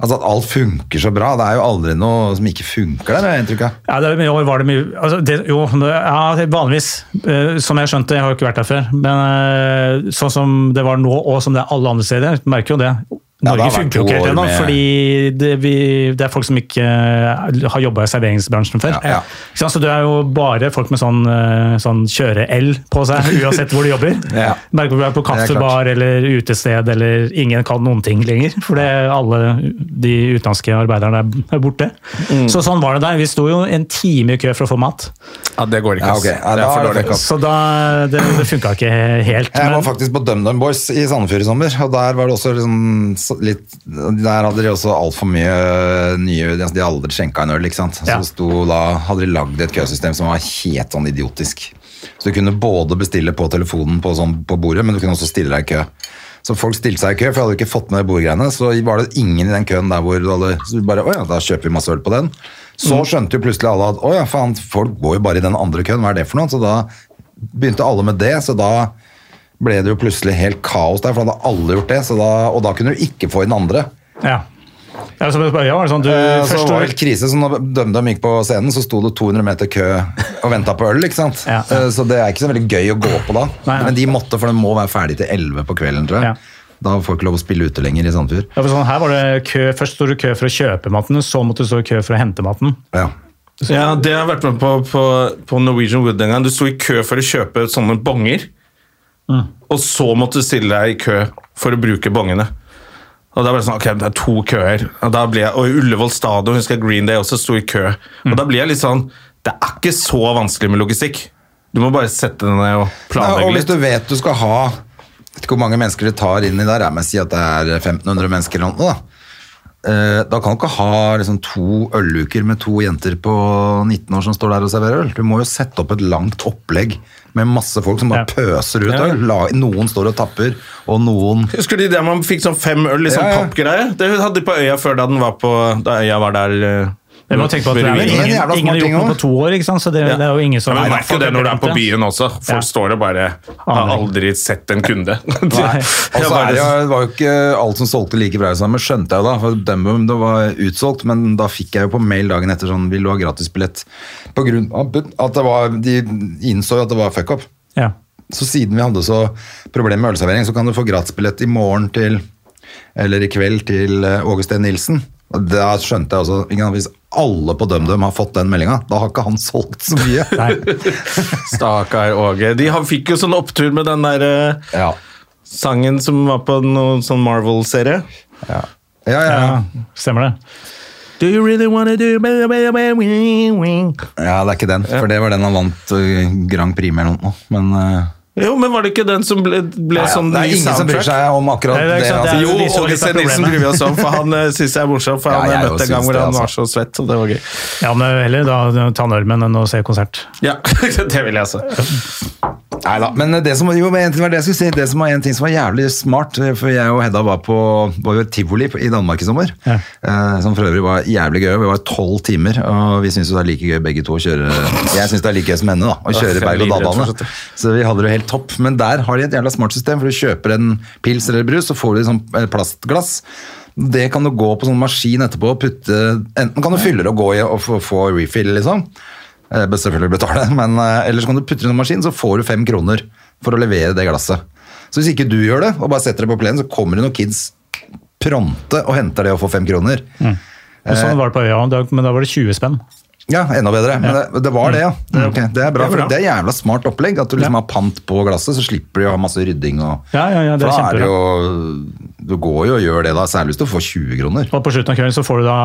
Altså At alt funker så bra. Det er jo aldri noe som ikke funker der. har jeg inntrykk av. Ja, det, I år var det mye altså, det, Jo, det, ja, det- vanligvis. Eh, som jeg skjønte, jeg har jo ikke vært der før. Men eh, sånn som det var nå, og som det er alle andre steder, du merker jo det. Ja, det Norge har vært funker jo to ikke helt år ennå, med- fordi det, vi, det er folk som ikke eh, har jobba i serveringsbransjen før. Ja, ja. Ikke sant? Så det er jo bare folk med sånn, eh, sånn kjøre-L på seg, uansett hvor de jobber. Ja. Merker du er Det er på klart. kaffebar eller utested eller ingen kan noen ting lenger. For det, alle de utenlandske arbeiderne er borte. Mm. Så sånn var det der. Vi sto jo en time i kø for å få mat. Ja, det går ikke, Ja, ok. ass. Ja, det da er er for det dårlig. fuck up. Så da, det, det funka ikke helt. Jeg var Men, faktisk på DumDum Boys i Sandefjord i sommer, og der var det også liksom så- litt Der hadde de også altfor mye nye De hadde aldri skjenka en øl, ikke sant. Ja. Så sto da, hadde de lagd et køsystem som var helt sånn idiotisk. Så du kunne både bestille på telefonen på, sånn, på bordet, men du kunne også stille deg i kø. Så folk stilte seg i kø, for hadde du ikke fått med bordgreiene, så var det ingen i den køen der hvor du hadde Så du bare Å ja, da kjøper vi masse øl på den. Så skjønte jo plutselig alle at å ja, faen, folk går jo bare i den andre køen, hva er det for noe? Så da begynte alle med det, så da ble det jo plutselig helt kaos der, for da hadde alle gjort det, så da, og da kunne du ikke få i den andre. ja. Ja, så det bare, ja, var det sånn, du, Eh, Så først var var det helt krise, så når DumDum gikk på scenen, så sto det 200 meter kø og venta på øl. ikke sant? Ja. Eh, Så det er ikke så veldig gøy å gå på da. Nei, nei. Men de måtte, for den må være ferdig til 11 på kvelden, tror jeg. Ja. Da får ikke lov å spille ute lenger i Sandfjord. ja, for sånn, her var det kø, Først sto det kø for å kjøpe maten, så måtte du stå i kø for å hente maten. Ja. Ja, det har jeg vært med på på, på Norwegian Wood en gang. Du sto i kø for å kjøpe sånne bonger, og så måtte du stille deg i kø for å bruke bongene. Og da ble det sånn, ok, det er to køer. Og, da ble jeg, og i Ullevål stadion husker jeg Green Day også sto i kø. Og da blir jeg litt sånn Det er ikke så vanskelig med logistikk. Du må bare sette deg ned og Ja, planlegge og hvis litt. du vet du skal ha Vet ikke hvor mange mennesker de tar inn i der, jeg må si at det er 1500 mennesker eller noe. Da Eh, Da kan du ikke ha liksom, to øluker med to jenter på 19 år som står der og serverer øl. Du må jo sette opp et langt opplegg med masse folk som bare Ja. pøser ut øl. La- Noen står og tapper, og noen Husker du det man fikk sånn fem øl i sånn Ja, ja. pappgreie? Det hadde de på Øya før, da, den var på, da Øya var der. eh, Jeg må tenke på at det ved er Mm. ruinene. vel Men ingen, en jævla smart ingen har ting gjort noe også. på to år, ikke sant? så det, det er jo ingen som Ja, men jeg merker jo det når du er på byen også. Folk Ja. står og bare har Aner ikke. aldri sett en kunde. Nei. Og så Jeg bare- er det jo- det var jo ikke alt som solgte like bra i sammen, skjønte jeg jo da. For Dumbum, det var utsolgt, men da fikk jeg jo på mail dagen etter sånn Vil du ha gratisbillett? På grunn av at det var De innså jo at det var fuck up. Ja. Så siden vi hadde så problemer med ølservering, så kan du få gratisbillett i morgen til Eller i kveld til eh, Åge Steen Nilsen. Og Da skjønte jeg også ikke sant, Hvis alle på DumDum har fått den meldinga, da har ikke han solgt så mye. Stakkar Åge. De har, fikk jo sånn opptur med den der eh, Ja. sangen som var på noen sånn Marvel-serie. Ja, ja, ja. ja, stemmer det. Do you really wanna do ja, det er ikke den. For det var den han vant eh, Grand Prix med eller noe. Men eh, Jo, men var det ikke den som ble, ble ja, ja, sånn det er ny ingen som bryr soundtrack? seg om akkurat Nei, det er det. ikke sant, altså. det er- Jo, Det de som Åge litt av Steen Nilsen problemet. bryr vi oss om, for han uh, syns jeg er morsom. For Ja, han jeg jeg jo møtte en gang syns hvor det, han var altså. så svett, og det var gøy. Ja, men heller da ta normen enn å se konsert. Ja, det vil jeg altså. Neida, Men eh, det som, jo, men en ting var det jeg skulle si, det som var en ting som var jævlig smart, eh, for jeg og Hedda var på var jo i tivoli på- i Danmark i sommer, Ja. eh, som for øvrig var jævlig gøy. og Vi var tolv timer, og vi syns jo det er like gøy begge to å kjøre Jeg syns det er like gøy som henne, da, å kjøre fem biler, berg-og-dal-bane. fortsatt. Så vi hadde det jo helt topp. Men der har de et jævla smart system, for du kjøper en pils eller brus, så får du et sånt eh, plastglass. Det kan du gå på sånn maskin etterpå og putte Enten kan du fylle det og gå i og få, få refill, liksom. Eh, bør Selvfølgelig betale, men eh, ellers kan du putte det i en maskin, så får du fem kroner for å levere det glasset. Så hvis ikke du gjør det, og bare setter det på plenen, så kommer det noen kids pronte og henter det og får fem kroner. Men Sånn var det på øya, da- men da var det 20 spenn. Ja, enda bedre. Men det, det var det, Mm. ja. Ok, Det er bra, Det er for bra. det er jævla smart opplegg. At du liksom har pant på glasset, så slipper du å ha masse rydding og Ja, ja, ja, For det er da er det kjempebra. jo Du går jo og gjør det, da. Særlig hvis du får 20 kroner. Og på slutten av kvelden så får du da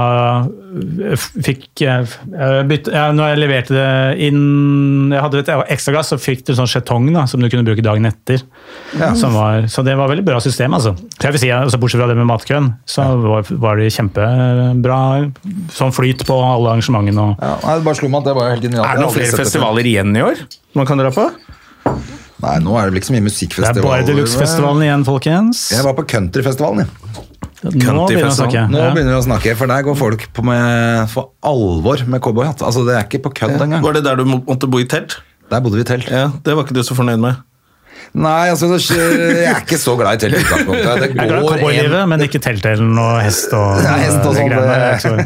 eh, fikk, jeg- jeg bytte, ja, Når jeg leverte det inn Jeg hadde et ekstra glass, så fikk du sånn skjetong da, som du kunne bruke dagen etter. Som var, så det var veldig bra system, altså. Så jeg vil si, altså bortsett fra det med matkøen, så var, var det kjempebra sånn flyt på alle arrangementene. Og, Ja, nei, det bare slo meg at det var jo helt genialt. Er det noen flere festivaler igjen i år man kan dra på? Nei, nå er det vel ikke så mye det er musikkfestivaler. bare Deluxe-festivalen igjen, folkens. Jeg var på countryfestivalen, jeg. Nå begynner vi å Countryfestivalen. snakke. Nå Ja. begynner vi å snakke, for der går folk på med, for alvor med cowboyhatt. Altså, det er ikke på kødd engang. Var det der du må- måtte bo i telt? Der bodde vi i telt. Ja, Det var ikke du så fornøyd med. Nei, altså, det- jeg er ikke så glad i telt i utgangspunktet. Det Jeg er glad i går en cowboylivet, men ikke teltdelen og hest og, Nei, hest og de sånn, greiene der, det- ikke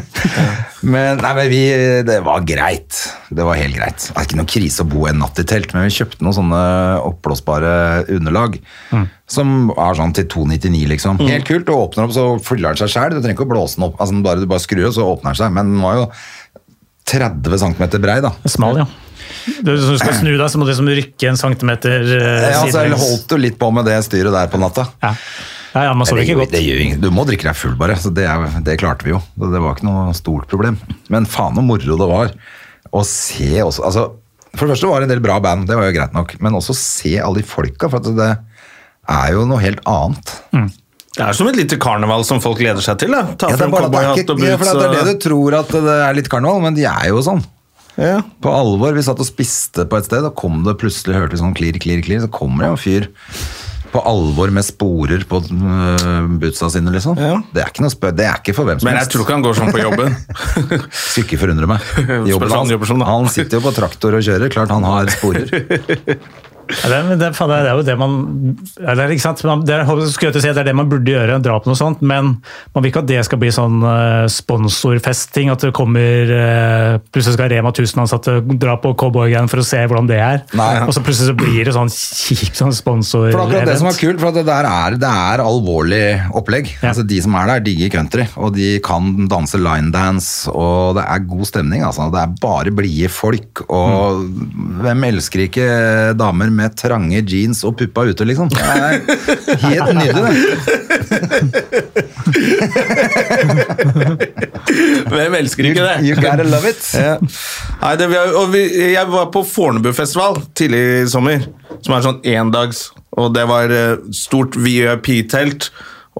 så- Men, nei, men vi, det var greit. Det var helt greit. Det er ikke noen krise å bo en natt i telt, men vi kjøpte noen sånne oppblåsbare underlag. Som er sånn til 2,99, liksom. Helt kult. Og åpner opp, så fyller den seg sjæl. Du trenger ikke å blåse den opp. Altså, den bare, du bare skrur, og så åpner den seg. Men den var jo 30 cm brei, da. Smal, ja. Du, hvis du skal snu deg, så må du liksom rykke en centimeter eh, Ja, altså, jeg sidelengs. holdt jo litt på med det styret der på natta. Ja. Ja, ja, man så det ikke gjør- godt. det gjør ingen- Du må drikke deg full, bare. Så det, er, det klarte vi jo. Det det var ikke noe stort problem. Men faen så moro det var å se også altså, For det første var det en del bra band, det var jo greit nok. Men også se alle de folka, for at det er jo noe helt annet. Det er som et lite karneval som folk gleder seg til. da. Ta Ja, det, er frem bare at det, er cowboyhatt og ikke, ja, for boots. det eh. er det og- du tror at det er litt karneval, men de er jo sånn. Ja. På alvor, vi satt og spiste på et sted, og kom det plutselig hørte vi sånn klirr, klirr, klirr, så kommer det en fyr på alvor med sporer på øh, bootsa sine, liksom. Ja. Det er ikke noe spø, det er ikke for hvem som Men jeg helst. tror ikke han går sånn på jobben. Skulle ikke forundre meg. Spørs hva han jobber som, da. han sitter jo på traktor og kjører, klart han har sporer. Ja, det, er- det, er- faen, det er jo det man eller, ikke sant? Man- Det er, skulle jeg til å si, det er det man burde gjøre, dra på noe sånt, men man vil ikke at det skal bli sånn eh, sponsorfesting, at det kommer eh, Plutselig skal Rema 1000-ansatte dra på cowboygreiene for å se hvordan det er, Nei. og så plutselig så blir det sånn kjipt sånn sponsor For det er akkurat det som er kult, for at det der er, det er alvorlig opplegg. Ja. Altså, de som er der, digger country, og de kan danse linedance, og det er god stemning. Altså. Det er bare blide folk, og hvem elsker ikke damer med trange jeans og puppa ute, liksom? Det er helt nydelig, det. Hvem elsker ikke det? You gotta love it. Ja. Nei, det, vi har- og vi, jeg var på Fornebufestival tidlig i sommer, som er sånn endags. Og det var eh, stort VIP-telt,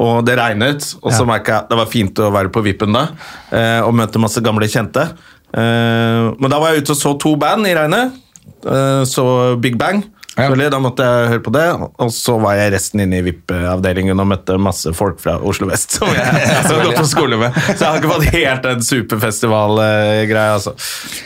og det regnet. Og så merket jeg at det var fint å være på vippen da, eh, og møte masse gamle kjente. Eh, Men da var jeg ute og så to band i regnet. Eh, Så Big Bang. Ja. selvfølgelig. Da måtte jeg høre på det, og så var jeg resten inne i VIP-avdelingen og møtte masse folk fra Oslo vest som jeg har gått på skole med. Så jeg har ikke fått helt den superfestivalgreia, altså.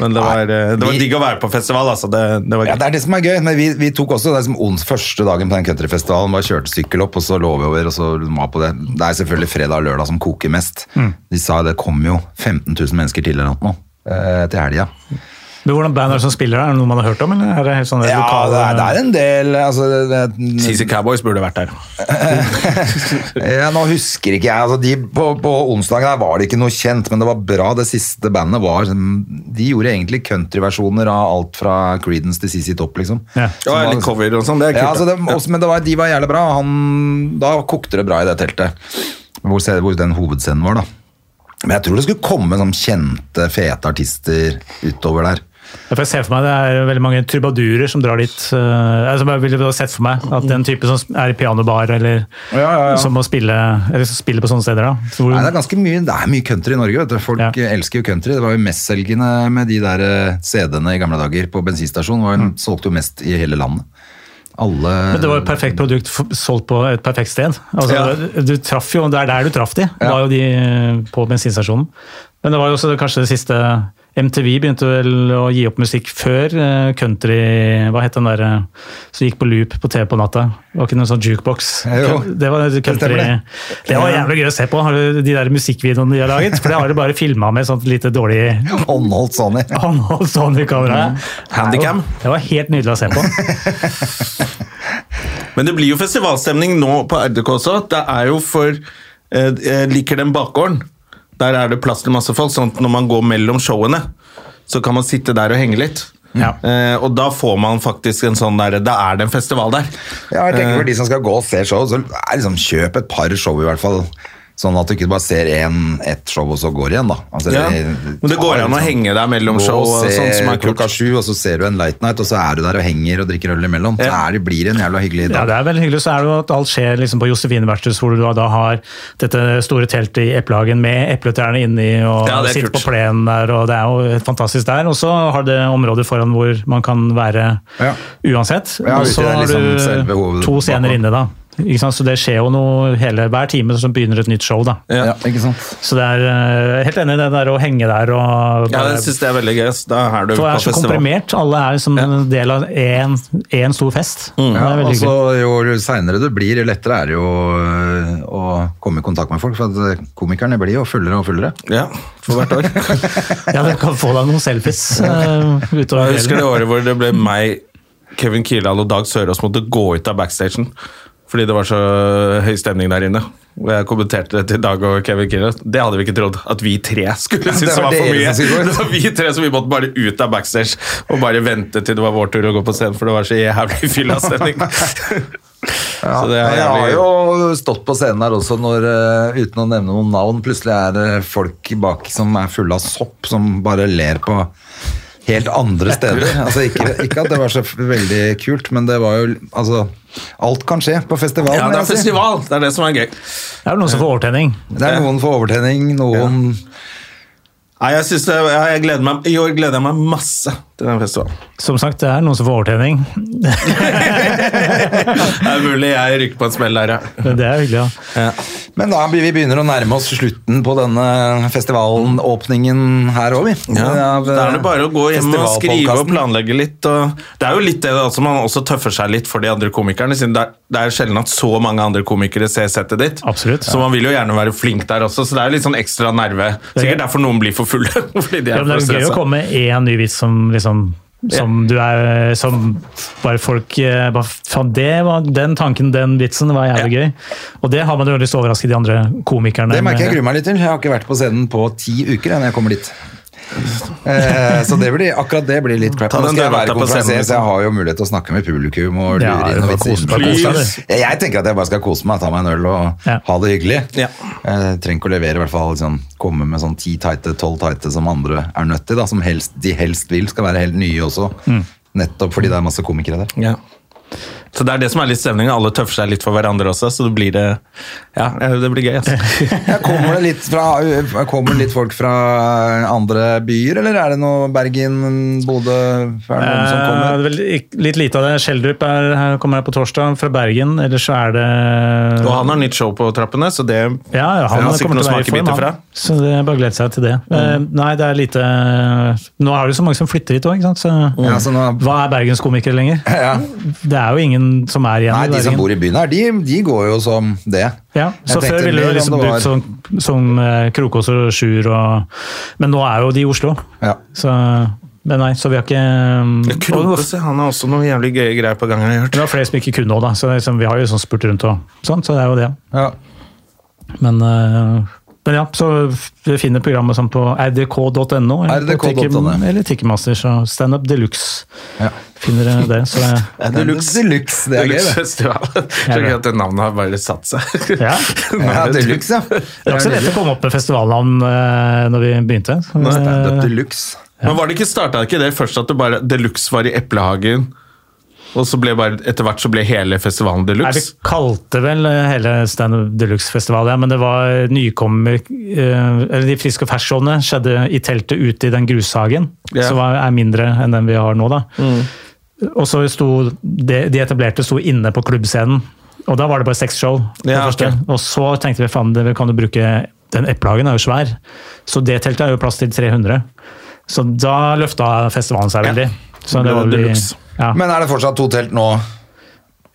Men det var, eh, det var vi- digg å være på festival, altså. Det, det var Ja, gøy. det er det som er gøy, men vi, vi tok også det er som ons første dagen på den countryfestivalen, bare kjørte sykkel opp, og så lå vi over, og så var på det. Det er selvfølgelig fredag og lørdag som koker mest. Mm. De sa det kom jo 15 000 mennesker til eller noe nå, eh, til helga. Men hvordan band er det som spiller der? Er det noe man har hørt om, eller er det helt sånn Ja, det er, det er en del, altså... Det, det, CC Cowboys burde vært der. ja, nå husker ikke jeg, altså de på, på onsdagen der var det ikke noe kjent, men det var bra, det siste bandet var, de gjorde egentlig countryversjoner av alt fra Creedence til CC Top, liksom. Ja. Ja, Som var- litt cover og sånn. Det er kult. Ja, altså da. det, også, men det var, de var jævlig bra. og Han, da kokte det bra i det teltet. Hvor, se- hvor den hovedscenen var, da. Men jeg tror det skulle komme sånn kjente, fete artister utover der. Ja, for Jeg ser for meg det er veldig mange trubadurer som drar dit. eh, altså, jeg ville da sett for meg at den type som er i pianobar, eller Ja, ja, ja. som må spille, eller som spiller på sånne steder. da. Så hvor, Nei, det er ganske mye, det er mye country i Norge. vet du. Folk Ja. elsker jo country. Det var jo mestselgende med de der eh, CD-ene i gamle dager på bensinstasjonen. Var jo- Solgte jo mest i hele landet. Alle Mm. men det var jo et perfekt produkt f- solgt på et perfekt sted. Altså, Ja. du, du traff jo, Det er der du traff de, var jo de eh, på bensinstasjonen. Men det var jo også kanskje det siste MTV begynte vel å gi opp musikk før eh, country Hva het den derre som gikk på loop på TV på natta? Det var ikke noen sånn jukebox? Jo. Det var country. stemmer det. Det var jævlig gøy å se på, har du de der musikkvideoene de har laget. For det har de bare filma med sånt lite dårlig håndholdt sånn i. håndholdt Sony-kamera. Handycam. Det var helt nydelig å se på. Men det blir jo festivalstemning nå på RDK også. Det er jo for eh, Jeg liker den bakgården. Der er det plass til masse folk, sånn at når man går mellom showene, så kan man sitte der og henge litt. Ja. Eh, og da får man faktisk en sånn der Da er det en festival der. Ja, jeg Eh. tenker for de som skal gå og se show, så er liksom kjøp et par show i hvert fall. Sånn at du ikke bare ser en, ett show og så går igjen, da. Altså, Ja. det- Men det går ta an å liksom- henge der mellom Gå show og se sånn som er kult. klokka sju, og så ser du en light night, og så er du der og henger og drikker øl imellom. Ja. Så er det blir det en jævla hyggelig Ja, dag. det er veldig hyggelig. Så er det jo at alt skjer liksom på Josefine verksted, hvor du da har dette store teltet i Eplehagen med epletrærne inni, og Ja, det er sitter kult. på plenen der, og det er jo helt fantastisk der. Og så har det områder foran hvor man kan være Ja. uansett. Ja, og ute i så det har liksom selve du hoved- to scener bakgården. inne, da. Ikke sant? Så det skjer jo noe hele, hver time som begynner et nytt show, da. Ja. Ja, ikke sant? Så det er eh, helt enig i det der å henge der og Ja, jeg syns det er veldig gøy. ass. Da er du For det på er så festival. komprimert. Alle er som en del av én stor fest. Det Mm. Ja, er og veldig hyggelig. så Jo seinere du blir, jo lettere er det jo øh, å komme i kontakt med folk. For at øh, komikerne blir jo fullere og fullere. Ja, for hvert år. Ja, du kan få deg noen selfies. eh, utover Jeg husker det året kvelden. hvor det ble meg, Kevin Kildahl og Dag Sørås måtte gå ut av backstagen fordi det var så høy stemning der inne. Og jeg kommenterte det til Dag og Kevin Kildahl. Det hadde vi ikke trodd at vi tre skulle synes det var var for dere mye. som skulle gå ut. Det var vi tre som vi måtte bare ut av backstage og bare vente til det var vår tur å gå på scenen, for det var så jævlig fylla stemning. Så det er jeg har jævlig jo stått på scenen her også når, eh, uten å nevne noen navn, plutselig er det folk bak som er fulle av sopp, som bare ler på helt andre steder. Altså, ikke, ikke at det var så veldig kult, men det var jo Altså, alt kan skje på festival. Ja, må det jeg er si. festival! Det er det som er gøy. Det er jo noen som får overtenning. Det er noen for overtenning, noen Nei, jeg, synes det, jeg gleder meg, I år gleder jeg meg masse til den festivalen. Som sagt, det er noen som får overtenning. Det er mulig jeg rykker på en smell der, ja. Det er hyggelig, ja. Men da blir vi begynner å nærme oss slutten på denne festivalåpningen her òg, vi. Ja, Av, eh, da er det bare å gå hjem og skrive og festivalpodcasten. planlegge litt. Og det er jo litt det at man også tøffer seg litt for de andre komikerne. siden Det er, det er sjelden at så mange andre komikere ser settet ditt. Absolutt. Så man vil jo gjerne være flink der også, så det er jo litt sånn ekstra nerve. er gøy. Sikkert derfor noen blir for fulle. fordi de Ja, er men for det er jo gøy å stressa. komme med én ny vits som liksom som du er Som bare folk eh, bare, Faen, det var den tanken, den vitsen, var jævlig gøy. Og det har man jo lyst til å overraske de andre komikerne Det merker jeg med. gruer meg litt til. Jeg har ikke vært på scenen på ti uker jeg, når jeg kommer dit. Eh, så det blir, akkurat det blir litt crap. Ta Nå den skal jeg der være vakta på konferansier, scenen. liksom. så jeg har jo mulighet til å snakke med publikum og lure Ja, inn du noen får vitser kose deg innimellom. på scenen. Så Jeg jeg tenker at jeg bare skal kose meg, ta meg en øl og Ja. ha det hyggelig. Ja. Eh, trenger ikke å levere, i hvert fall sånn, komme med sånn ti tighte, tolv tighte som andre er nødt til, da, som helst, de helst vil skal være helt nye også. Mm. Nettopp fordi det er masse komikere der. Ja. Så det er det som er litt stemningen. Alle tøffer seg litt for hverandre også, så det blir det Ja, eh, det blir gøy. Altså. Ja, kommer, det litt fra, kommer det litt folk fra andre byer, eller er det noe Bergen, Bodø Er det noen som Eh, kommer? det er vel ikk- litt lite av det. Schjelderup er- her kommer her på torsdag, fra Bergen. Ellers så er det Og han har nytt show på trappene, så det Ja, ja, han Han har sikkert kommer til å noen være i form, smakebiter han. fra. Så det er bare å glede seg til det. Eh, Nei, det er lite eh, Nå er det jo så mange som flytter hit òg, ikke sant. Så, Ja, så nå- Hva er bergenskomikere lenger? Ja. Det er jo ingen som er igjen Nei, i de som Bergen. bor i byen her, de, de går jo som det. Ja, Jeg så tenkte Før ville mer du om liksom det var- brukt som, som eh, Krokås og Sjur og Men nå er jo de i Oslo. Ja. Så, men nei, så vi har ikke um, og det var- Krokos, han har også noen jævlig gøye greier på gang. har jeg hørt. det var flere som ikke kunne òg, da. Så liksom, vi har jo sånn spurt rundt og sånn, så det er jo det. Ja. Men, eh, men ja, så vi finner programmet sånn på rdk.no. Eller, på RDK.no. Ticket- eller Ticketmasters og Standup Deluxe. Ja. Finner dere det. Så det Deluxe. Deluxe, det er gøy, det. Festival. Så gøy at det navnet har bare satt seg. ja. Ja, Deluxe, ja. Det var ikke så lett å komme opp med festivalnavn eh, når vi begynte. Standup Eh, Deluxe. Men var det ikke starta ikke det først at det bare Deluxe var i Eplehagen, og så ble bare etter hvert så ble hele festivalen Nei, vi Deluxe? kalte vel eh, hele Stand Up Deluxe-festivalen, ja, men det var nykommer... eh, Eller de friske og ferskshowene skjedde i teltet ute i den grushagen, Ja. Mm. som var, er mindre enn den vi har nå, da. Og så sto de, de etablerte sto inne på klubbscenen, og da var det bare seks show. det Ja, første. ok. Og så tenkte vi, faen, det- vi kan jo bruke Den eplehagen er jo svær, så det teltet er jo plass til 300. Så da løfta festivalen seg Ja. veldig. Så Ble det var det vel- deluxe. Ja, Men er det fortsatt to telt nå?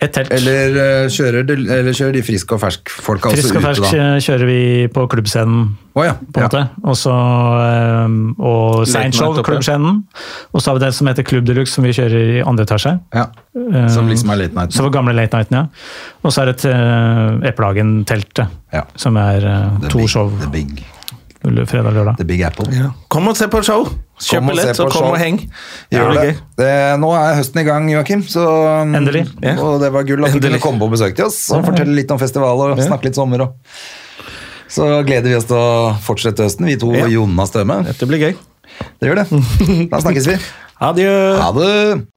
et telt. Eller, eh, kjører, de, eller kjører de frisk og fersk folka også Frisk og fersk Altså ute, da? eh, kjører vi på klubbscenen, Å ja. på en ja. måte. Og så ehm, og Seinshow, Night oppe. klubbscenen. Og så har vi det som heter Klubb Deluxe, som vi kjører i andre etasje. ja. Eh, Som liksom er late night. Så var gamle Late Nighten, ja. Og så er det et uh, Eplehagen-teltet, Ja. som er eh, The to big, show The Big, fredag og lørdag. the big Apple. Kom og se på show! Kjøp Kom og se billett, på og kom show. og heng. Gjør Jævlig det. gøy. det. Nå er høsten i gang, Joakim. Så, um, Endelig. Ja. Og det var gull at du Endelig. kunne komme på besøk til oss og fortelle litt om festival og snakke litt sommer. Og. Så gleder vi oss til å fortsette høsten, vi to og Jonas Støme. Dette blir gøy. Det gjør det. Da snakkes vi. Adjø. Ha det!